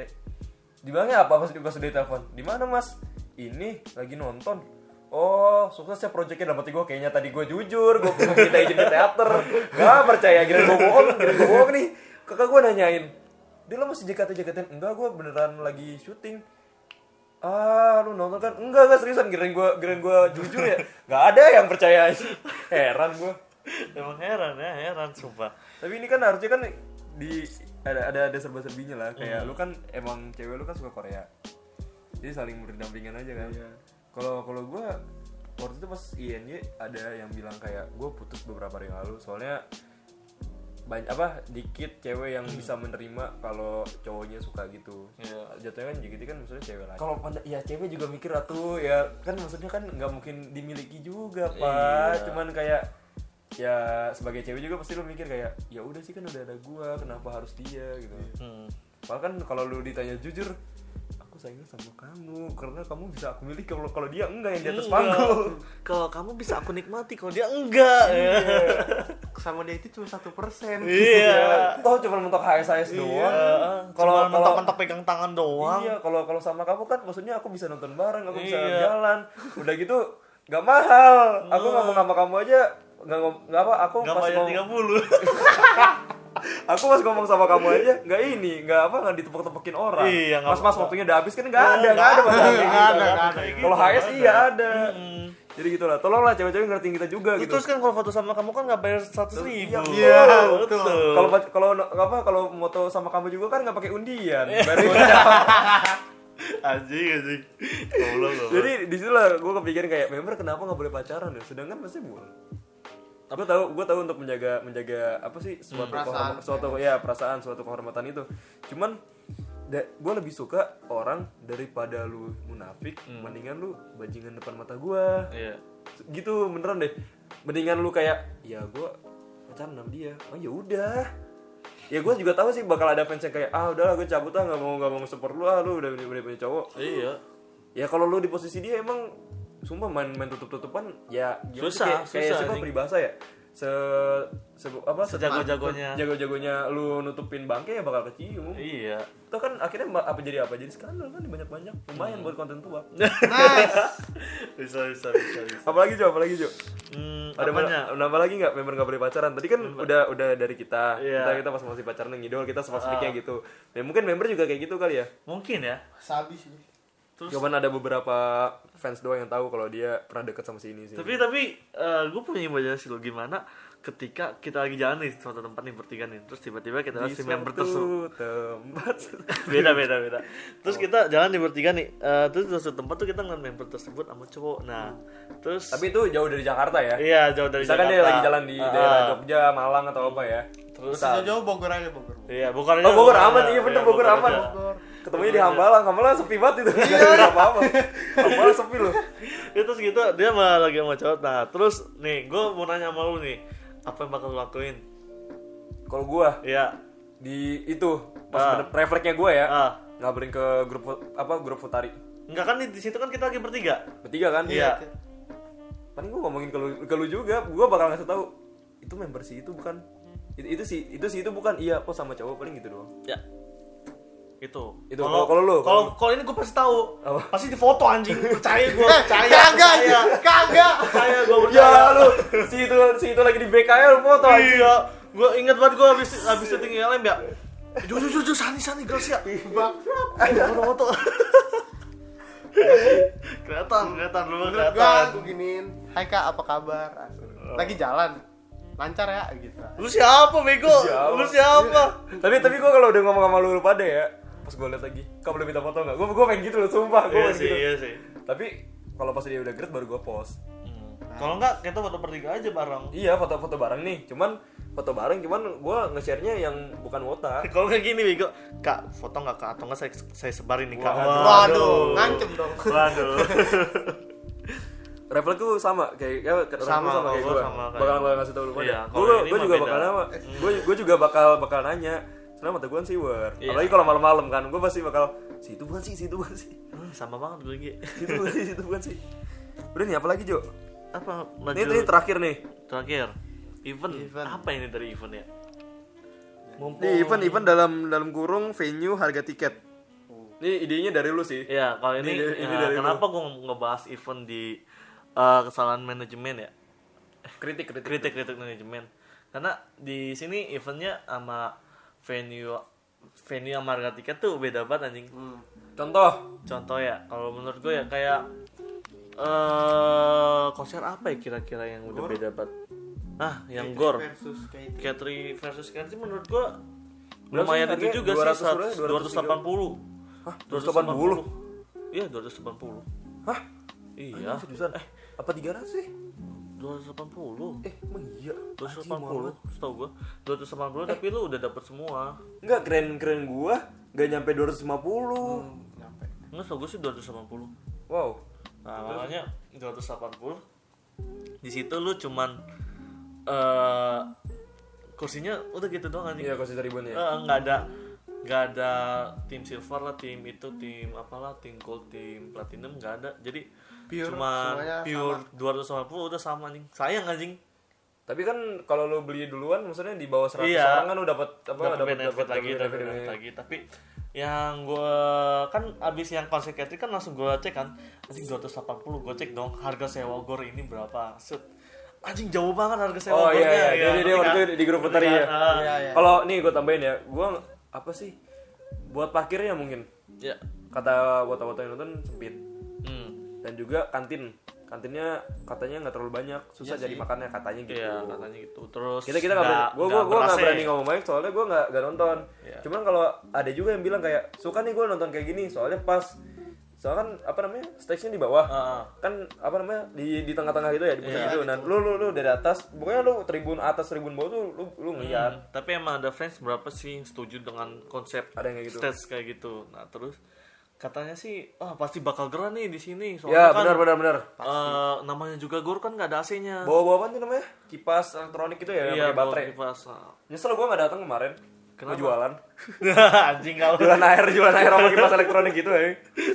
Speaker 4: dibilangnya apa pas pas udah telepon di mana mas ini lagi nonton Oh, sukses ya projectnya dapat gue kayaknya tadi gue jujur, gue minta izin ke teater. Gak percaya, giliran gue bohong, giliran gue bohong nih. Kakak gue nanyain, dia lo masih JKT JKT? Enggak, gue beneran lagi syuting ah lu nonton kan enggak enggak seriusan kirain gua kirain gua jujur ya nggak ada yang percaya heran gua
Speaker 3: emang heran ya heran sumpah
Speaker 4: tapi ini kan harusnya kan di ada ada ada serba serbinya lah kayak lu kan emang cewek lu kan suka Korea jadi saling berdampingan aja kan kalau kalau gua waktu itu pas INY ada yang bilang kayak gua putus beberapa hari yang lalu soalnya banyak apa dikit cewek yang bisa menerima kalau cowoknya suka gitu jatuhnya kan JKT kan maksudnya cewek lagi kalau panda ya cewek juga mikir atuh ya kan maksudnya kan nggak mungkin dimiliki juga pak cuman kayak ya sebagai cewek juga pasti lu mikir kayak ya udah sih kan udah ada gua kenapa harus dia gitu
Speaker 3: Hmm.
Speaker 4: Padahal kan kalau lu ditanya jujur aku sayang sama kamu karena kamu bisa aku miliki kalau kalau dia enggak yang di atas
Speaker 3: Enggak.
Speaker 4: panggung
Speaker 3: Kalau kamu bisa aku nikmati, kalau dia enggak.
Speaker 4: Iya.
Speaker 5: sama dia itu cuma satu persen
Speaker 3: Iya.
Speaker 4: toh cuma mentok HSHS doang
Speaker 3: Kalau
Speaker 4: Iya. kalau kalau
Speaker 3: mentok-mentok pegang tangan doang.
Speaker 4: Iya, kalau kalau sama kamu kan maksudnya aku bisa nonton bareng, aku bisa
Speaker 3: Iya.
Speaker 4: jalan. Udah gitu nggak mahal. Aku ngomong sama kamu aja nggak ngom- nggak apa aku
Speaker 3: Enggak
Speaker 4: pas
Speaker 3: bayar
Speaker 4: ngomong
Speaker 3: 30.
Speaker 4: aku pas ngomong sama kamu aja nggak ini nggak apa nggak ditepok-tepokin orang
Speaker 3: Iya, nggak
Speaker 4: mas mas
Speaker 3: apa-apa.
Speaker 4: waktunya udah habis kan nggak ada nggak ada mas
Speaker 5: nggak ada, nggak ada.
Speaker 3: Gitu.
Speaker 4: kalau HS iya ada jadi gitulah tolonglah cewek-cewek ngertiin kita juga gitu
Speaker 3: Terus kan kalau foto sama kamu kan enggak bayar 100 ribu.
Speaker 5: Iya,
Speaker 3: betul.
Speaker 4: kalau pa- kalau no- apa kalau moto sama kamu juga kan nggak pakai undian baru gocap.
Speaker 3: Anjing, anjing. Goblok, goblok.
Speaker 4: jadi di situ lah gue kepikiran kayak member kenapa nggak boleh pacaran ya sedangkan pasti boleh gue tahu gue tahu untuk menjaga menjaga apa sih suatu
Speaker 5: Perasaan.
Speaker 4: kehorma- suatu ya perasaan suatu kehormatan itu cuman gue lebih suka orang daripada lu munafik mendingan lu bajingan depan mata gue
Speaker 3: Iya.
Speaker 4: gitu beneran deh mendingan lu kayak ya gue pacaran sama dia oh ya udah ya gue juga tahu sih bakal ada fans yang kayak ah udahlah gue cabut ah nggak mau nggak mau support lu ah lu udah udah punya cowok
Speaker 3: Iya.
Speaker 4: ya kalau lu di posisi dia emang sumpah main main tutup tutupan ya gimana sih,
Speaker 3: Susah,
Speaker 4: kayak, kayak
Speaker 3: susah,
Speaker 4: siapa
Speaker 3: anjing.
Speaker 4: peribahasa ya se, se apa
Speaker 3: Sejago-jagonya.
Speaker 4: jago-jagonya lu nutupin bangke ya bakal kecium
Speaker 3: Iya.
Speaker 4: itu kan akhirnya ma- apa jadi apa jadi skandal kan banyak banyak lumayan
Speaker 3: Hmm.
Speaker 4: buat konten tua
Speaker 5: Nice.
Speaker 3: Bisa bisa bisa. bisa.
Speaker 4: apalagi Jo apalagi Jo
Speaker 3: Hmm,
Speaker 4: ada
Speaker 3: apanya?
Speaker 4: mana nambah lagi nggak member nggak boleh pacaran tadi kan udah udah dari kita
Speaker 3: Iya. Ah.
Speaker 4: kita kita pas masih pacaran yang ngidol kita spesifiknya gitu ya, mungkin member juga kayak gitu kali ya
Speaker 3: Mungkin ya.
Speaker 5: Sabi sih.
Speaker 3: Terus
Speaker 4: cuman ada beberapa fans doang yang tahu kalau dia pernah deket sama si ini sih
Speaker 3: tapi tapi gue punya imajinasi lo gimana ketika kita lagi jalan di suatu tempat nih bertiga nih terus tiba-tiba kita lihat si member tersebut
Speaker 4: Nah, tempat
Speaker 3: beda beda beda terus kita jalan di bertiga nih eh, terus di suatu tempat tuh kita ngeliat member tersebut sama cowok nah terus
Speaker 4: tapi itu jauh dari Jakarta ya
Speaker 3: iya jauh dari
Speaker 4: misalkan dia
Speaker 3: Jakarta.
Speaker 4: lagi jalan di
Speaker 3: Ah,
Speaker 4: daerah
Speaker 3: ah.
Speaker 4: Jogja Malang atau apa ya
Speaker 3: terus
Speaker 5: Sejauh Bogor aja Bogor.
Speaker 3: iya Bogor aja,
Speaker 4: Oh, Bogor aman,
Speaker 3: aja.
Speaker 4: iya bener, Bogor aman.
Speaker 3: aja. Iya,
Speaker 4: ketemunya di Hambalang Hambalang sepi banget itu apa apa Hambalang sepi loh
Speaker 3: Ya, terus gitu dia malah lagi sama cowok nah terus nih gue mau nanya sama lu nih apa yang bakal lu lakuin
Speaker 4: kalau gua
Speaker 3: iya
Speaker 4: di itu
Speaker 3: Ah.
Speaker 4: pas bener- refleksnya gua ya
Speaker 3: Ah.
Speaker 4: ngabarin ke grup fut- apa grup futari
Speaker 3: enggak kan di di situ kan kita lagi bertiga
Speaker 4: bertiga kan
Speaker 3: Iya.
Speaker 4: paling gua ngomongin ke lu, ke lu juga gua bakal ngasih tahu itu member si itu bukan itu, itu sih itu sih itu bukan iya kok sama cowok paling gitu doang
Speaker 3: Ya. Itu.
Speaker 4: Itu, kalau- kalau lu,
Speaker 3: Gitu. kalau
Speaker 4: kalau-
Speaker 3: kalau ini gue pasti tahu.
Speaker 4: Apa?
Speaker 3: Pasti di foto anjing. Percaya gue,
Speaker 5: Eh,
Speaker 3: percaya.
Speaker 5: kagak,
Speaker 3: percaya.
Speaker 5: kagak.
Speaker 3: Percaya gue percaya.
Speaker 4: ya lu si itu si itu lagi di BKL foto anjing.
Speaker 3: Iya. Gue inget banget gue habis habis syuting ILM ya. Jujur jujur jujur sani sani gelas ya. Foto-foto. Kelihatan, kelihatan lu
Speaker 5: Menurut gua Oh.
Speaker 3: kelihatan.
Speaker 5: aku giniin, "Hai Kak, apa kabar?" Asli. Lagi jalan. Lancar ya gitu.
Speaker 3: Lu siapa bego?
Speaker 4: Siapa?
Speaker 3: Lu siapa?
Speaker 4: tapi tapi gua kalau udah ngomong sama lu, lu pada ya pas gua liat lagi kau boleh minta foto nggak gua gua pengen gitu loh sumpah
Speaker 3: Iya
Speaker 4: gua pengen
Speaker 3: sih,
Speaker 4: gitu
Speaker 3: iya sih.
Speaker 4: tapi kalau pas dia udah geret baru gua post
Speaker 3: Kalau enggak kita foto bertiga aja bareng.
Speaker 4: iya foto-foto bareng nih cuman foto bareng cuman gua nge-share-nya yang bukan wota
Speaker 3: Kalau nggak gini bego, kak foto nggak kak atau nggak saya saya sebarin nih kak.
Speaker 4: Waduh.
Speaker 5: Waduh, ngancem dong.
Speaker 3: Waduh.
Speaker 4: Refleks tuh sama kayak ya, refleks
Speaker 3: Sama,
Speaker 4: sama
Speaker 3: kalau
Speaker 4: kayak gue.
Speaker 3: gua sama kayak-
Speaker 4: Bakal bakal ngasih tau lu pada.
Speaker 3: Iya, kalau
Speaker 4: gue
Speaker 3: ini
Speaker 4: gue
Speaker 3: mah
Speaker 4: juga
Speaker 3: beda. Hmm.
Speaker 4: bakal nama. Gue gue juga bakal bakal nanya. Selamat mata gue sih war.
Speaker 3: Iya.
Speaker 4: Apalagi kalau malam-malam kan, gue pasti bakal si itu bukan sih, si itu bukan sih,
Speaker 3: Hmm, sama banget gue lagi.
Speaker 4: si itu bukan sih, si itu bukan sih. Udah nih apa lagi Jo?
Speaker 3: Apa
Speaker 4: Ini
Speaker 3: maju
Speaker 4: ini terakhir nih.
Speaker 3: terakhir? Event.
Speaker 5: Event.
Speaker 3: Apa ini dari event ya?
Speaker 4: Ini
Speaker 3: Oh.
Speaker 4: event event dalam dalam kurung venue harga tiket. Ini idenya dari lu sih.
Speaker 3: Ya kalau ini,
Speaker 4: Ini dari- ini
Speaker 3: ya,
Speaker 4: dari lu.
Speaker 3: kenapa gue ngebahas event di eh, kesalahan manajemen ya?
Speaker 4: Kritik kritik.
Speaker 3: Kritik-kritik manajemen. Karena di sini eventnya sama venue venue sama harga tiket tuh beda banget anjing.
Speaker 4: Hmm. Contoh,
Speaker 3: contoh ya kalau menurut gue ya kayak eh konser apa ya kira-kira yang udah beda banget ah yang gor
Speaker 5: versus kayak gitu.
Speaker 3: Katri versus Katri menurut gue
Speaker 4: Berapa
Speaker 3: lumayan
Speaker 4: sih
Speaker 3: itu
Speaker 4: harganya?
Speaker 3: juga
Speaker 4: 200
Speaker 3: sih
Speaker 4: berapa?
Speaker 3: 280
Speaker 4: Hah, 280?
Speaker 3: iya 280
Speaker 4: hah?
Speaker 3: iya
Speaker 4: Ini seriusan? Eh, apa 300 sih?
Speaker 3: 280
Speaker 4: Eh, emang iya. Anjing, Muhammad.
Speaker 3: 280 setahu gue 280 tapi lu udah dapet semua
Speaker 4: Enggak keren-keren gua nggak nyampe 250.
Speaker 3: Oh,
Speaker 5: nyampe.
Speaker 3: nggak setahu gue sih 280
Speaker 4: Wow.
Speaker 3: Nah, makanya 280 di situ lu cuman eh kursinya udah gitu doang anjing.
Speaker 4: Iya, kasih ribuan ya.
Speaker 3: Eh, nggak ada nggak ada tim silver lah, tim itu, tim apalah, tim gold, tim platinum nggak ada. Jadi
Speaker 5: Pure,
Speaker 3: cuman
Speaker 5: semuanya
Speaker 3: pure 280 udah sama anjing. Sayang anjing.
Speaker 4: Tapi kan kalau lu beli duluan maksudnya di bawah 100
Speaker 3: Iya.
Speaker 4: orang kan lu dapat apa
Speaker 3: Dapat
Speaker 4: dapat
Speaker 3: benefit lagi, dapat benefit lagi. Tapi yang gue kan abis yang konser catering kan langsung gue cek kan anjing 280 gue cek dong harga sewa gor ini berapa set anjing jauh banget harga sewa
Speaker 4: Oh
Speaker 3: gornya,
Speaker 4: iya iya,
Speaker 3: ya,
Speaker 4: dia dia
Speaker 3: ngerti
Speaker 4: waktu
Speaker 3: kan?
Speaker 4: itu di grup
Speaker 3: Ngerti
Speaker 4: petari
Speaker 3: kan?
Speaker 4: ya.
Speaker 3: Ah,
Speaker 5: Iya, iya.
Speaker 4: Kalau nih gua tambahin ya, gua apa sih? Buat parkirnya mungkin
Speaker 3: ya.
Speaker 4: kata wata-wata yang nonton sempit
Speaker 3: Hmm,
Speaker 4: dan juga kantin. Kantinnya katanya nggak terlalu banyak, susah jadi makannya katanya gitu.
Speaker 3: iya, katanya gitu terus
Speaker 4: kita kita nggak berani gue gue gue nggak berani ngomong banyak soalnya gue nggak nggak nonton
Speaker 3: ya. Iya.
Speaker 4: cuman kalau ada juga yang bilang kayak suka nih gue nonton kayak gini soalnya pas soalnya kan apa namanya stage-nya di bawah
Speaker 3: Heeh.
Speaker 4: kan apa namanya di di tengah-tengah gitu ya di
Speaker 3: Iya.
Speaker 4: pusat gitu nah lu lu lu dari atas pokoknya lu tribun atas tribun bawah tuh lu lu ngeliat
Speaker 3: Hmm, tapi emang ada fans berapa sih yang setuju dengan konsep
Speaker 4: Ada yang kayak gitu.
Speaker 3: stage kayak gitu nah terus katanya sih wah pasti bakal gerah nih di sini
Speaker 4: ya
Speaker 3: soalnya kan
Speaker 4: benar benar benar
Speaker 3: eh, namanya juga gor kan nggak ada AC-nya
Speaker 4: bawa bawa apa tuh namanya kipas elektronik gitu ya yang
Speaker 3: Iya,
Speaker 4: pakai baterai
Speaker 3: bawa kipas. Ah.
Speaker 4: nyesel gue nggak datang kemarin
Speaker 3: Kenapa?
Speaker 4: Mau jualan
Speaker 3: Anjing kau.
Speaker 4: jualan air jualan air sama kipas elektronik gitu ya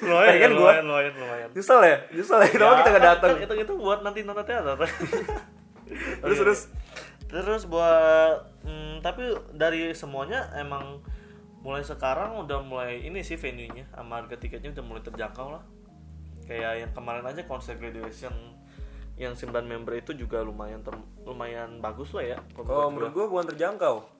Speaker 3: Lumayan,
Speaker 4: Pengen gua.
Speaker 3: lumayan, lumayan, lumayan. kan
Speaker 4: nyesel ya
Speaker 3: Iya.
Speaker 4: nyesel ya kenapa kita nggak datang
Speaker 3: Itu itu buat nanti nonton teater.
Speaker 4: terus terus
Speaker 3: Terus buat mm, tapi dari semuanya emang mulai sekarang udah mulai ini sih venue-nya sama harga tiketnya udah mulai terjangkau lah. Kayak yang kemarin aja konser graduation yang 9 member itu juga lumayan ter- lumayan bagus lah ya.
Speaker 4: Kalau Oh, menurut gue bukan terjangkau.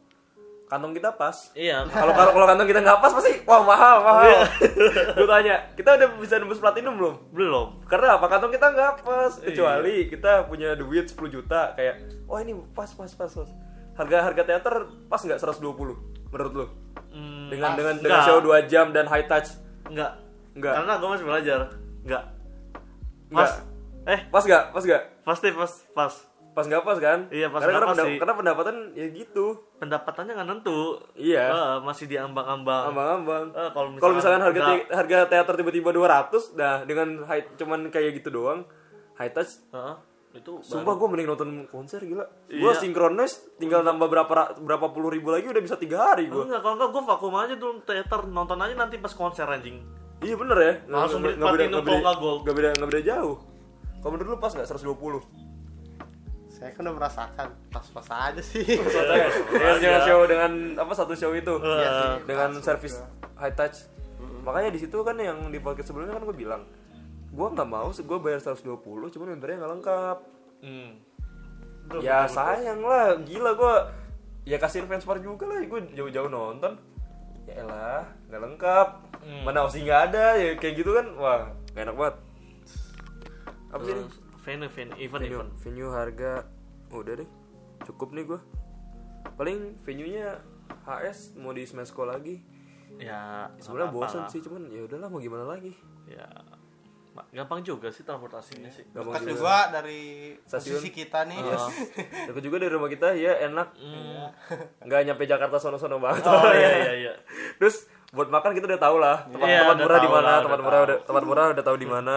Speaker 4: Kantong kita pas.
Speaker 3: Iya,
Speaker 4: Kalau kalau kalau kantong kita nggak pas pasti wah mahal mahal. gue tanya, kita udah bisa nembus platinum belum?
Speaker 3: belum.
Speaker 4: Karena apa kantong kita nggak pas
Speaker 3: Iya.
Speaker 4: kecuali kita punya duit 10 juta kayak wah ini pas pas pas pas. Harga harga teater pas nggak 120 menurut lu?
Speaker 3: Mm,
Speaker 4: Dengan
Speaker 3: pas.
Speaker 4: dengan dengan
Speaker 3: Nggak.
Speaker 4: show 2 jam dan high touch
Speaker 3: Enggak.
Speaker 4: Enggak.
Speaker 3: Karena gue masih belajar. Enggak.
Speaker 4: Enggak.
Speaker 3: Mas. Eh,
Speaker 4: pas nggak pas nggak
Speaker 3: pasti pas pas.
Speaker 4: pas nggak pas kan?
Speaker 3: Iya, pas nggak
Speaker 4: karena, karena,
Speaker 3: pas
Speaker 4: pendap-
Speaker 3: sih.
Speaker 4: karena pendapatan ya gitu
Speaker 3: Pendapatannya nggak nentu.
Speaker 4: Iya.
Speaker 3: Eh, masih diambang-ambang.
Speaker 4: Ambang-ambang.
Speaker 3: Eh, kalau misalkan
Speaker 4: kalau misalkan harga
Speaker 3: nggak-
Speaker 4: te- harga teater tiba-tiba 200, nah dengan high, cuman kayak gitu doang, high touch.
Speaker 3: Heeh. itu
Speaker 4: Sumpah gue mending nonton konser gila. Gue
Speaker 3: Iya.
Speaker 4: sinkronis tinggal tambah berapa ra- berapa puluh ribu lagi udah bisa tiga hari
Speaker 3: baru.
Speaker 4: gue.
Speaker 3: Oh, enggak kalau enggak gue vakum aja dulu teater nonton aja nanti pas konser anjing
Speaker 4: Iya bener ya. Nggak-
Speaker 3: Langsung
Speaker 4: nggak-
Speaker 3: beli
Speaker 4: nggak beda-
Speaker 3: platinum
Speaker 4: nggak beda-
Speaker 3: kalau nggak gold.
Speaker 4: nggak beda nggak beda jauh. Kalau menurut lu pas nggak 120?
Speaker 5: Saya kan udah merasakan pas-pas aja sih.
Speaker 4: Dengan dengan Iya, show dengan apa satu show itu
Speaker 5: Iya sih,
Speaker 4: dengan
Speaker 5: pas
Speaker 4: service
Speaker 5: juga.
Speaker 4: high touch. Makanya di situ kan yang di podcast sebelumnya kan gue bilang, gue nggak mau, gue bayar 120, cuman membernya nggak lengkap.
Speaker 3: hmm.
Speaker 4: ya sayang lah gila gua ya kasihin fanspar juga lah gue jauh-jauh nonton ya elah nggak lengkap mana opsi nggak ada ya kayak gitu kan wah gak enak banget apa sih ini?
Speaker 3: Terus, venue venue event
Speaker 4: venue,
Speaker 3: event
Speaker 4: venue harga oh, udah deh cukup nih gua paling venue nya HS mau di Smesko lagi
Speaker 3: ya
Speaker 4: sebenarnya
Speaker 3: apa-apa
Speaker 4: bosan
Speaker 3: lah.
Speaker 4: sih cuman ya udahlah mau gimana lagi
Speaker 3: ya ma- gampang juga sih transportasinya sih
Speaker 4: Gak mau
Speaker 5: Bekas
Speaker 4: gimana.
Speaker 5: juga Oh. dari
Speaker 4: Stasiun.
Speaker 5: posisi kita nih.
Speaker 4: Yes. Deket juga dari rumah kita ya enak nggak nyampe Jakarta sono-sono banget
Speaker 3: Hmm. oh iya iya iya
Speaker 4: Terus buat makan kita udah tahu lah tempat,
Speaker 3: Iya,
Speaker 4: tempat
Speaker 3: udah
Speaker 4: murah di
Speaker 3: tahu
Speaker 4: mana,
Speaker 3: lah,
Speaker 4: tempat
Speaker 3: udah
Speaker 4: murah
Speaker 3: tahu.
Speaker 4: udah tempat murah udah tahu di mana.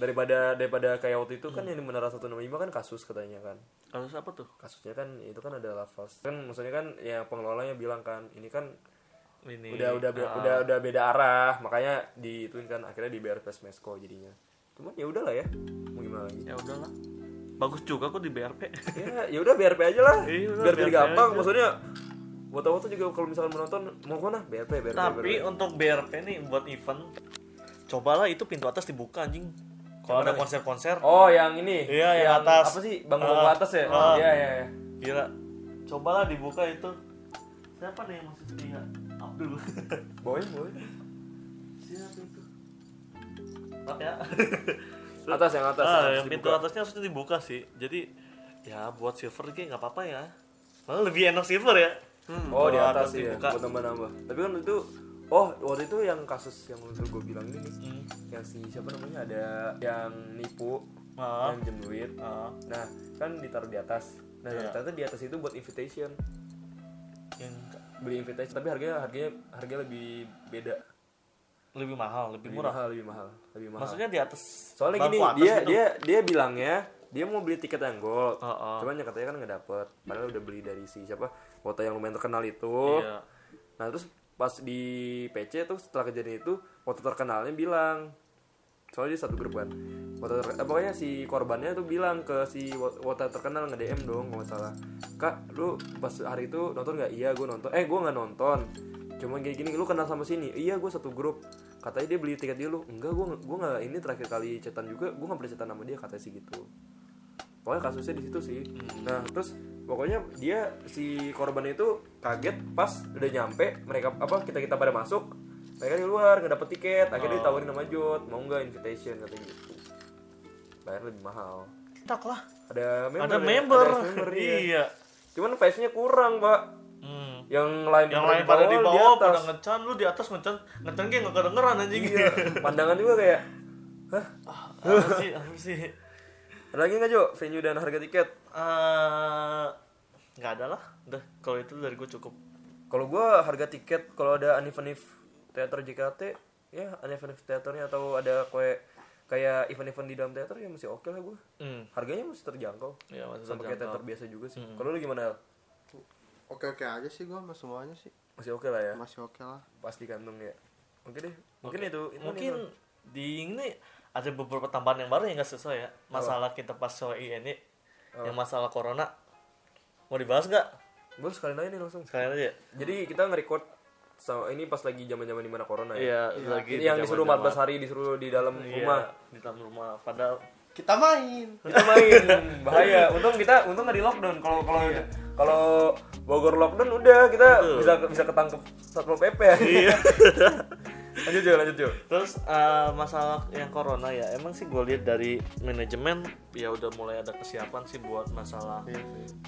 Speaker 4: Daripada daripada kayak waktu itu
Speaker 3: Hmm.
Speaker 4: kan yang di Menara 165 kan kasus katanya kan.
Speaker 3: kalau siapa tuh
Speaker 4: Kasusnya kan itu kan ada lafaz. Kan maksudnya kan ya pengelolanya bilang kan ini kan
Speaker 3: ini eh,
Speaker 4: udah udah be-
Speaker 3: Ah.
Speaker 4: udah udah beda arah, makanya diituin kan akhirnya di BRPS Mesko jadinya. Cuman ya udahlah ya. Mau gimana lagi?
Speaker 3: ya udahlah bagus juga kok di BRP
Speaker 4: ya ya udah BRP aja lah
Speaker 3: Iya, udah,
Speaker 4: biar jadi
Speaker 3: BRP
Speaker 4: gampang
Speaker 3: aja.
Speaker 4: maksudnya buat waktu juga kalau misalkan menonton mau kemana BRP BRP
Speaker 3: tapi
Speaker 4: BRP.
Speaker 3: untuk BRP nih buat event cobalah itu pintu atas dibuka anjing kalau ada konser-konser
Speaker 4: oh yang ini
Speaker 3: Iya, yang atas.
Speaker 4: apa sih bangun bangun
Speaker 3: Ah,
Speaker 4: atas ya
Speaker 3: ah.
Speaker 4: iya iya iya.
Speaker 3: Gila. Cobalah dibuka itu. Siapa nih yang masih setia? Abdul.
Speaker 4: bawahnya bawahnya
Speaker 3: Siapa itu? Maaf ya.
Speaker 4: atas yang atas
Speaker 3: ah,
Speaker 4: atas
Speaker 3: yang pintu
Speaker 4: dibuka.
Speaker 3: atasnya harusnya dibuka sih. Jadi ya buat silver kayak nggak apa-apa ya. Malah lebih enak silver ya.
Speaker 4: oh di
Speaker 3: Kalau
Speaker 4: atas
Speaker 3: atas
Speaker 4: sih ya
Speaker 3: dibuka.
Speaker 4: buat nambah nambah tapi kan itu oh waktu itu yang kasus yang waktu gue bilang ini nih,
Speaker 3: Hmm.
Speaker 4: yang si siapa namanya ada yang nipu
Speaker 3: Ah.
Speaker 4: yang jem duit
Speaker 3: Ah,
Speaker 4: nah kan ditaruh di atas nah
Speaker 3: Iya.
Speaker 4: ternyata di atas itu buat invitation
Speaker 3: yang
Speaker 4: beli invitation tapi harganya harganya harganya lebih beda
Speaker 3: lebih mahal, lebih
Speaker 4: lebih
Speaker 3: murah.
Speaker 4: mahal lebih mahal lebih mahal
Speaker 3: Maksudnya di atas.
Speaker 4: soalnya
Speaker 3: bangku
Speaker 4: gini
Speaker 3: atas
Speaker 4: dia
Speaker 3: gitu.
Speaker 4: dia dia bilangnya dia mau beli tiket yang gold
Speaker 3: Oh, oh.
Speaker 4: cuman yang katanya kan nggak dapet padahal udah beli dari si siapa kota yang lumayan terkenal itu
Speaker 3: Iya.
Speaker 4: nah terus pas di PC tuh setelah kejadian itu kota terkenalnya bilang soalnya dia satu grup kan kota ter- eh, pokoknya si korbannya tuh bilang ke si kota terkenal nge DM dong kalau nggak salah kak lu pas hari itu nonton nggak iya gue nonton eh gue nggak nonton cuma gini gini lu kenal sama sini iya gue satu grup katanya dia beli tiket dulu enggak gue gue nggak ini terakhir kali cetan juga gue nggak pernah cetan sama dia katanya sih gitu pokoknya kasusnya di situ sih
Speaker 3: Hmm.
Speaker 4: nah terus pokoknya dia si korban itu kaget pas udah nyampe mereka apa kita kita pada masuk mereka di luar nggak dapet tiket akhirnya
Speaker 3: Oh.
Speaker 4: ditawarin sama Jod mau nggak invitation katanya gitu bayar lebih mahal
Speaker 3: Cetak lah.
Speaker 4: ada member
Speaker 3: Ada
Speaker 4: ya?
Speaker 3: member.
Speaker 4: Ada member, iya.
Speaker 3: Iya.
Speaker 4: cuman face nya kurang pak
Speaker 3: Hmm.
Speaker 4: yang lain
Speaker 3: Yang lain pada di bawah,
Speaker 4: atas.
Speaker 3: pada ngecan, lu di atas ngecan, ngecan kayak nggak kedengeran anjing. Ah,
Speaker 4: Iya. pandangan juga kayak hah
Speaker 3: apa sih apa sih
Speaker 4: ada lagi nggak Jo venue dan harga tiket
Speaker 3: Eh, nggak ada lah udah kalau itu dari gue cukup
Speaker 4: Kalau gua harga tiket kalau ada anif-anif teater JKT ya anif-anif teaternya atau ada kayak kayak event-event di dalam teater ya masih oke lah gua
Speaker 3: hmm.
Speaker 4: Harganya masih terjangkau.
Speaker 3: ya maksud
Speaker 4: Sama kayak teater biasa juga sih. Kalau lu gimana? Al?
Speaker 5: Oke-oke aja sih gua sama semuanya sih.
Speaker 4: Masih oke lah ya.
Speaker 5: Masih oke lah.
Speaker 4: Pas di kantong ya. Oke deh. Mungkin itu. itu
Speaker 3: mungkin
Speaker 4: nih, Bang.
Speaker 3: di ini ada
Speaker 4: Oh.
Speaker 3: beberapa tambahan yang baru yang nggak sesuai ya masalah kita pas soal ini yang masalah corona Mau dibahas nggak?
Speaker 4: Boleh sekalian aja nih langsung.
Speaker 3: Sekalian aja.
Speaker 4: Jadi kita nge-record sama ini pas lagi zaman-zaman dimana corona ya.
Speaker 3: Iya, lagi
Speaker 4: Jadi yang
Speaker 3: di
Speaker 4: disuruh
Speaker 3: zaman-zaman.
Speaker 4: 14 hari disuruh di dalam
Speaker 3: Iya,
Speaker 4: rumah.
Speaker 3: di dalam rumah. Padahal
Speaker 5: Kita main.
Speaker 4: Kita main bahaya. Untung kita untung nggak di lockdown. Kalau kalau
Speaker 3: Iya.
Speaker 4: kalau Bogor lockdown udah kita bisa bisa ketangkep satpol PP. Iya. lanjut Jo, lanjut Jo.
Speaker 3: Terus eh, masalah yang corona ya, emang sih gue lihat dari manajemen ya udah mulai ada kesiapan sih buat masalah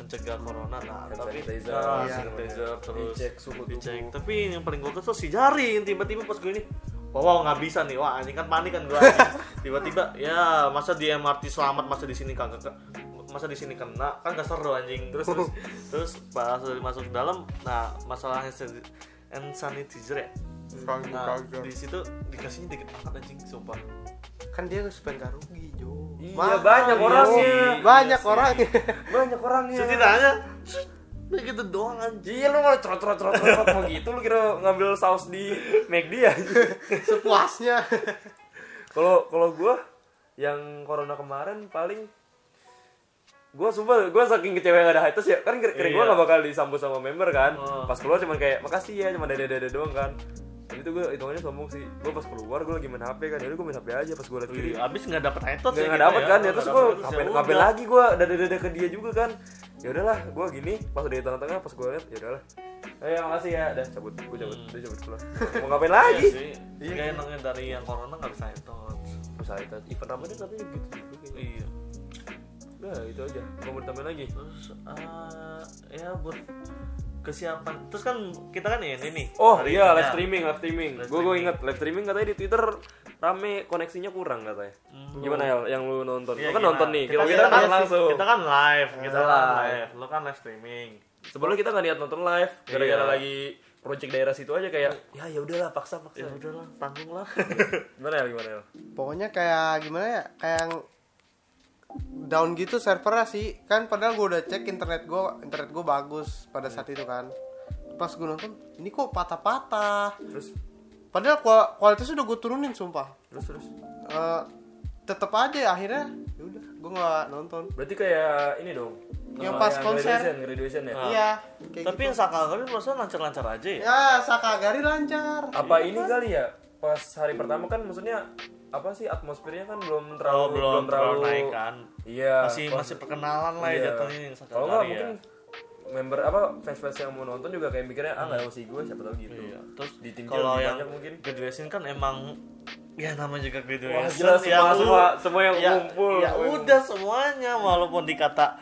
Speaker 3: mencegah corona. Nah,
Speaker 4: Hand
Speaker 3: tapi
Speaker 4: sanitizer,
Speaker 3: Ah,
Speaker 4: iya.
Speaker 3: sanitizer, terus
Speaker 4: Dicek suhu tubuh.
Speaker 3: dicek. Tapi yang paling gue kesel si jari tiba-tiba pas gue ini Wah, wah, nggak bisa nih. Wah, anjing kan panik kan gue. Tiba-tiba, ya masa di MRT selamat, masa di sini kagak masa di sini kena kan gak seru anjing terus terus, terus pas udah masuk ke dalam nah masalah hand san- hand sanitizer ya
Speaker 5: Kagak,
Speaker 3: Nah,
Speaker 5: kagak.
Speaker 3: di situ dikasihnya dikit banget anjing, sumpah.
Speaker 5: Kan dia supaya nggak rugi, Jo.
Speaker 4: Iya,
Speaker 5: Iya Mahal,
Speaker 4: banyak
Speaker 5: Jo.
Speaker 4: orangnya.
Speaker 5: Banyak orangnya.
Speaker 4: Banyak orangnya.
Speaker 3: Setidaknya begitu gitu doang anjing.
Speaker 4: Iya lu mau cerot cerot cerot cerot mau gitu lu kira ngambil saus di McD ya.
Speaker 5: Sepuasnya.
Speaker 4: Kalau kalau gua yang corona kemarin paling gua sumpah gua saking kecewa yang ada hiatus ya kan kira, kira gua
Speaker 3: Iya.
Speaker 4: gak bakal disambut sama member kan
Speaker 3: Oh.
Speaker 4: pas keluar cuman kayak makasih ya cuma dada dada doang kan tapi itu gua hitungannya sombong sih gua pas keluar gua lagi main hp kan jadi gua main hp aja pas gua liat kiri
Speaker 3: Wih, abis nggak dapet headshot ya
Speaker 4: nggak nggak
Speaker 3: kita
Speaker 4: dapet kan ya
Speaker 3: Nggak
Speaker 4: terus
Speaker 3: dapet
Speaker 4: gue
Speaker 3: headshot,
Speaker 4: ngapain
Speaker 3: ya
Speaker 4: ngapain
Speaker 3: udah.
Speaker 4: lagi gue dada dada ke dia juga kan ya udahlah gue gini pas udah di tengah-tengah pas gue liat ya udahlah eh ya makasih ya udah cabut gue cabut
Speaker 3: Hmm.
Speaker 4: dia cabut keluar mau ngapain
Speaker 3: Iya
Speaker 4: lagi
Speaker 3: sih. Nggak enaknya dari yang corona nggak bisa headshot.
Speaker 4: usaha itu event ramadan tapi gitu juga kayaknya.
Speaker 3: Iya.
Speaker 4: udah itu aja mau mau ditambahin lagi
Speaker 3: Terus eh, ya buat kesiapan. Terus kan kita kan ini nih.
Speaker 4: oh
Speaker 3: hari ini,
Speaker 4: iya live
Speaker 3: ya.
Speaker 4: streaming live streaming
Speaker 3: Live
Speaker 4: gue gue
Speaker 3: streaming.
Speaker 4: inget live streaming katanya di twitter rame koneksinya kurang katanya gimana ya yang lu nonton
Speaker 3: Iya,
Speaker 4: lu kan
Speaker 3: gimana?
Speaker 4: nonton nih kita
Speaker 3: kita
Speaker 4: kita
Speaker 3: kan
Speaker 4: nonton langsung
Speaker 3: Kita kan live, kita
Speaker 4: Kita
Speaker 3: kan
Speaker 4: live.
Speaker 3: live. Lo kan live streaming.
Speaker 4: sebelumnya kita nggak niat nonton live gara-gara
Speaker 3: Iya.
Speaker 4: lagi project daerah situ aja kayak ya ya udahlah paksa
Speaker 3: Ya
Speaker 4: paksa
Speaker 3: udahlah, tanggung lah.
Speaker 4: gimana ya gimana ya
Speaker 5: Pokoknya kayak gimana ya? Kayak yang down gitu servernya sih kan padahal gue udah cek internet gue internet gue bagus pada saat itu kan pas gue nonton ini kok patah-patah
Speaker 4: terus
Speaker 5: padahal kual- kualitas udah gue turunin sumpah
Speaker 4: terus terus
Speaker 5: Eh tetap aja ya, akhirnya yaudah gue nggak nonton
Speaker 4: berarti kayak ini dong
Speaker 5: Yang
Speaker 4: Oh,
Speaker 5: pas konser.
Speaker 4: graduation, graduation
Speaker 3: Ah.
Speaker 4: ya
Speaker 5: iya kayak
Speaker 3: Tapi yang
Speaker 5: gitu.
Speaker 3: sakal kali perasaan lancar-lancar aja ya.
Speaker 5: ya sakagari lancar
Speaker 4: apa ini kali ya pas hari pertama kan maksudnya apa sih atmosfernya kan belum terlalu
Speaker 3: Oh, belum terlalu naik kan.
Speaker 4: iya
Speaker 3: masih
Speaker 4: pas-
Speaker 3: masih perkenalan lah ya
Speaker 4: iya.
Speaker 3: jatuhnya ya. yang sakal
Speaker 4: kalau nggak
Speaker 3: kali
Speaker 4: mungkin member apa fans-fans yang mau nonton juga kayak mikirnya ah nggak ada si gue siapa tahu gitu
Speaker 3: Hmm. Iya. Terus
Speaker 4: di tim
Speaker 3: kalau yang
Speaker 4: mungkin
Speaker 3: graduation kan emang ya namanya juga graduation.
Speaker 4: wah jelas
Speaker 3: ya
Speaker 4: semua,
Speaker 3: lu-
Speaker 4: semua semua yang
Speaker 3: ya,
Speaker 4: ngumpul
Speaker 3: ya udah semuanya walaupun dikata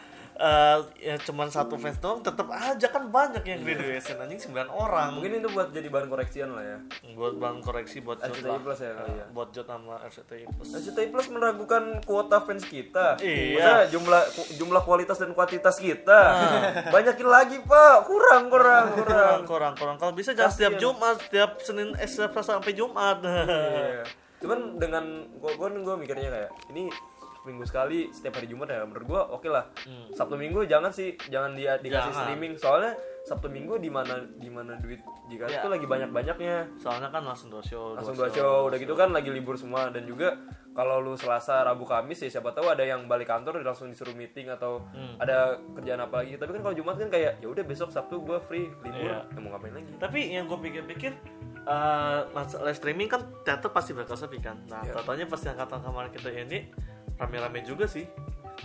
Speaker 3: eh, ya cuman satu fans doang tetap aja kan banyak
Speaker 4: Iya.
Speaker 3: yang graduation anjing 9 orang.
Speaker 4: mungkin itu buat jadi bahan koreksian lah ya
Speaker 3: buat bang koreksi buat Jot
Speaker 4: RCTI
Speaker 3: lah.
Speaker 4: Plus ya kali ya.
Speaker 3: buat Jot sama RCTI Plus.
Speaker 4: RCTI Plus Nah, meragukan kuota fans kita.
Speaker 3: Iya.
Speaker 4: Maksudnya jumlah ku- jumlah kualitas dan kuantitas kita. Banyakin lagi, Pak. Kurang, kurang,
Speaker 3: Ah.
Speaker 4: kurang.
Speaker 3: kurang kurang kurang kalau bisa jangan setiap Jumat setiap Senin eh, setiap Selasa sampai Jumat
Speaker 4: Iya. Cuman dengan gua gua, gua mikirnya kayak ini minggu sekali setiap hari Jumat ya menurut gua oke lah. Sabtu Minggu jangan sih jangan dia
Speaker 3: Hmm.
Speaker 4: dikasih
Speaker 3: Jangan.
Speaker 4: streaming soalnya Sabtu Minggu di mana di mana duit jika
Speaker 3: Iya.
Speaker 4: itu lagi banyak-banyaknya.
Speaker 3: soalnya kan langsung dua show
Speaker 4: langsung dua show udah gitu kan lagi libur semua dan juga kalau lu Selasa Rabu Kamis ya siapa tahu ada yang balik kantor langsung disuruh meeting atau
Speaker 3: Hmm.
Speaker 4: ada kerjaan apa lagi tapi kan kalau Jumat kan kayak ya udah besok Sabtu gua free libur
Speaker 3: Iya.
Speaker 4: ya mau ngapain lagi
Speaker 3: tapi yang gue pikir-pikir eh, mas- live streaming kan teater pasti bakal sepi kan nah
Speaker 4: Iya.
Speaker 3: totalnya pas yang kata kemarin kita ini rame-rame juga sih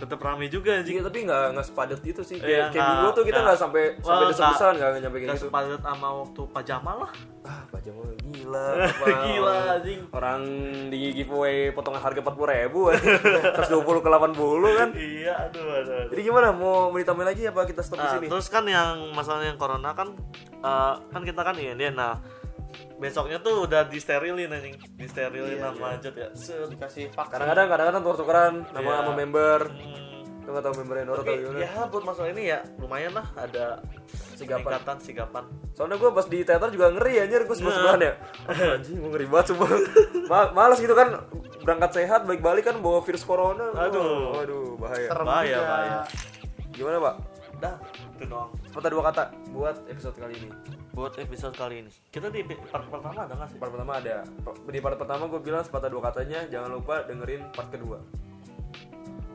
Speaker 3: tetap rame juga
Speaker 4: Iya,
Speaker 3: anjing
Speaker 4: tapi nggak nggak sepadet itu sih
Speaker 3: Iya,
Speaker 4: kayak kayak
Speaker 3: nggak-
Speaker 4: dulu tuh kita
Speaker 3: nggak.
Speaker 4: nggak sampai sampai
Speaker 3: Wah,
Speaker 4: desa-desaan nggak nggak nyampe kayak
Speaker 3: gak
Speaker 4: gitu
Speaker 3: sepadat sama waktu pajama lah
Speaker 4: ah pajak lu gila apa?
Speaker 3: Gila,
Speaker 4: Orang-
Speaker 3: anjing.
Speaker 4: orang di giveaway potongan harga empat puluh ribu terus dua puluh ke delapan puluh kan
Speaker 3: iya aduh aduh, aduh.
Speaker 4: jadi gimana mau mau ditambahin lagi apa kita stop di
Speaker 3: Nah,
Speaker 4: sini
Speaker 3: terus kan yang masalahnya yang corona kan eh, kan kita kan ini nah besoknya tuh udah disterilin anjing disterilin
Speaker 4: Iya,
Speaker 3: sama Jot ya Set.
Speaker 5: dikasih vaksin
Speaker 4: kadang-kadang kadang-kadang tukar-tukaran nama
Speaker 3: Iya.
Speaker 4: sama member
Speaker 3: Hmm.
Speaker 4: Tuh gak tau member yang Nora atau
Speaker 3: Tapi
Speaker 4: gimana
Speaker 3: ya buat masalah ini ya lumayan lah ada
Speaker 4: Sigapan.
Speaker 3: peningkatan sigapan.
Speaker 4: Soalnya gue pas di teater juga ngeri anjir Gue sebelah-sebelahan ya Aduh, Anjing gue ngeri banget sumpah Ma- Males gitu kan Berangkat sehat balik-balik kan bawa virus corona
Speaker 3: Aduh.
Speaker 4: Waduh bahaya
Speaker 5: serem
Speaker 3: Bahaya,
Speaker 5: juga.
Speaker 3: bahaya.
Speaker 4: Gimana pak?
Speaker 3: Dah, itu doang.
Speaker 4: Sepatah dua kata Buat episode kali ini
Speaker 3: Buat episode kali ini. Kita di part pertama ada nggak sih?
Speaker 4: Part pertama ada Di part pertama gue bilang sepatah dua katanya Jangan lupa dengerin part kedua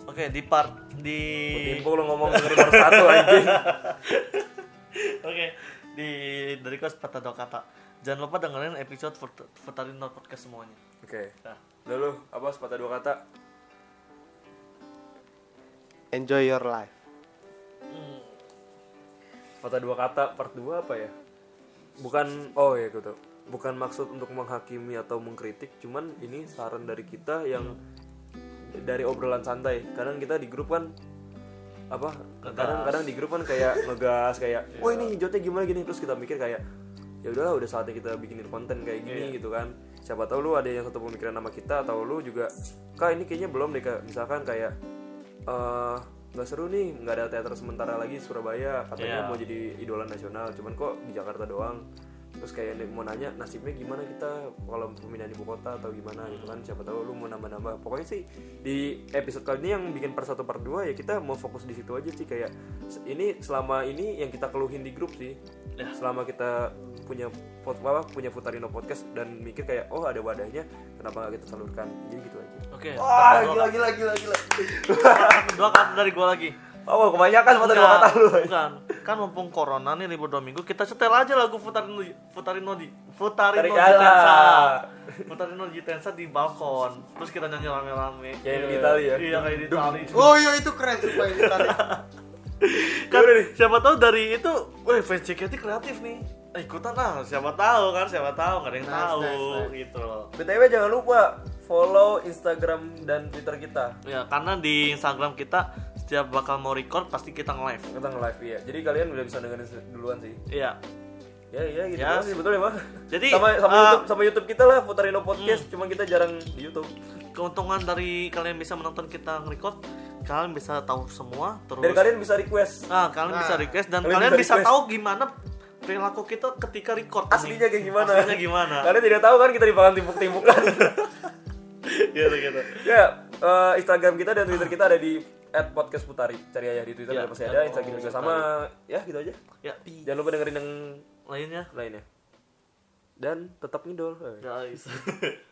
Speaker 3: Oke, Oke, di part di
Speaker 4: Info lu ngomong dengerin nomor satu anjing.
Speaker 3: Oke, di dari kos patah dua kata. Jangan lupa dengerin episode Vert- Veteriner Podcast semuanya.
Speaker 4: Oke.
Speaker 3: Nah.
Speaker 4: Udah lu, apa sepatah dua kata?
Speaker 5: Enjoy your life.
Speaker 4: Sepatah dua kata part 2 apa ya? Bukan oh ya gitu. Bukan maksud untuk menghakimi atau mengkritik, cuman ini saran dari kita yang dari obrolan santai. Kadang kita di grup kan apa kadang-kadang di grup kan kayak ngegas kayak wah ini hijaunya gimana gini terus kita mikir kayak ya udahlah udah saatnya kita bikinin konten kayak gini gitu kan siapa tahu lu ada yang satu pemikiran sama kita atau lu juga kak ini kayaknya belum deh Kak." misalkan kayak eh nggak seru nih nggak ada teater sementara lagi di Surabaya
Speaker 3: Iya.
Speaker 4: katanya mau jadi idola nasional cuman kok di Jakarta doang terus kayak dia mau nanya nasibnya gimana kita kalau pemindahan ibu kota atau gimana gitu kan siapa tahu lu mau nambah-nambah pokoknya sih di episode kali ini yang bikin part 1 part 2 ya kita mau fokus di situ aja sih kayak se- ini selama ini yang kita keluhin di grup sih selama kita punya pod, apa, punya Futarino podcast dan mikir kayak oh ada wadahnya kenapa nggak kita salurkan jadi gitu aja
Speaker 3: Oke. patah
Speaker 4: wah
Speaker 3: dua
Speaker 4: gila gila gila gila
Speaker 3: kata- Dua kata dari gua lagi.
Speaker 4: oh kebanyakan mata dua kata lu
Speaker 3: Bukan. bukan. Kan mumpung corona nih libur dua minggu, kita setel aja lagu Futarino Futarino di Futarino di
Speaker 4: Tarik ala.
Speaker 3: Tensa. Futarino di Tensa di balkon. Terus kita nyanyi rame-rame.
Speaker 4: Kayak di Itali ya?
Speaker 3: Iya, kayak di
Speaker 4: Duh.
Speaker 3: Itali.
Speaker 5: Oh iya itu keren sumpah ini tadi.
Speaker 3: kan siapa tahu dari itu, weh fans JKT kreatif nih. Eh, ikutan lah, siapa tahu kan, siapa tahu, nggak ada yang
Speaker 5: Nice,
Speaker 3: tahu
Speaker 5: nice,
Speaker 3: gitu loh.
Speaker 4: btw jangan lupa follow Instagram dan Twitter kita
Speaker 3: Ya, karena di Instagram kita setiap bakal mau record pasti kita nge-live.
Speaker 4: kita nge-live iya jadi kalian udah bisa dengerin se- duluan sih
Speaker 3: Iya.
Speaker 4: ya ya gitu
Speaker 3: Ya.
Speaker 4: doang sih betul ya Pak.
Speaker 3: Jadi, hmm.
Speaker 4: sama sama,
Speaker 3: eh,
Speaker 4: YouTube, sama YouTube kita lah Futarino podcast cuman kita jarang di YouTube
Speaker 3: Keuntungan dari kalian bisa menonton kita nge-record, kalian bisa tahu semua terus
Speaker 4: dan kalian bisa request
Speaker 3: Nah, kalian bisa request dan kalian,
Speaker 4: kalian bisa
Speaker 3: bisa,
Speaker 4: request.
Speaker 3: tahu gimana perilaku kita ketika record nih.
Speaker 4: aslinya kayak gimana
Speaker 3: Aslinya gimana?
Speaker 4: kalian tidak tahu kan kita dimakan timpuk-timpukan
Speaker 3: gitu gitu.
Speaker 4: ya eh, Instagram kita dan Twitter kita ada di @podcastputari cari aja di Twitter
Speaker 3: Ya,
Speaker 4: ada pasti ada
Speaker 3: at
Speaker 4: Instagram juga
Speaker 3: podcastputari.
Speaker 4: sama ya gitu aja
Speaker 3: Ya, pi-
Speaker 4: jangan lupa dengerin yang
Speaker 3: lainnya.
Speaker 4: lainnya dan tetap ngidol
Speaker 3: Guys.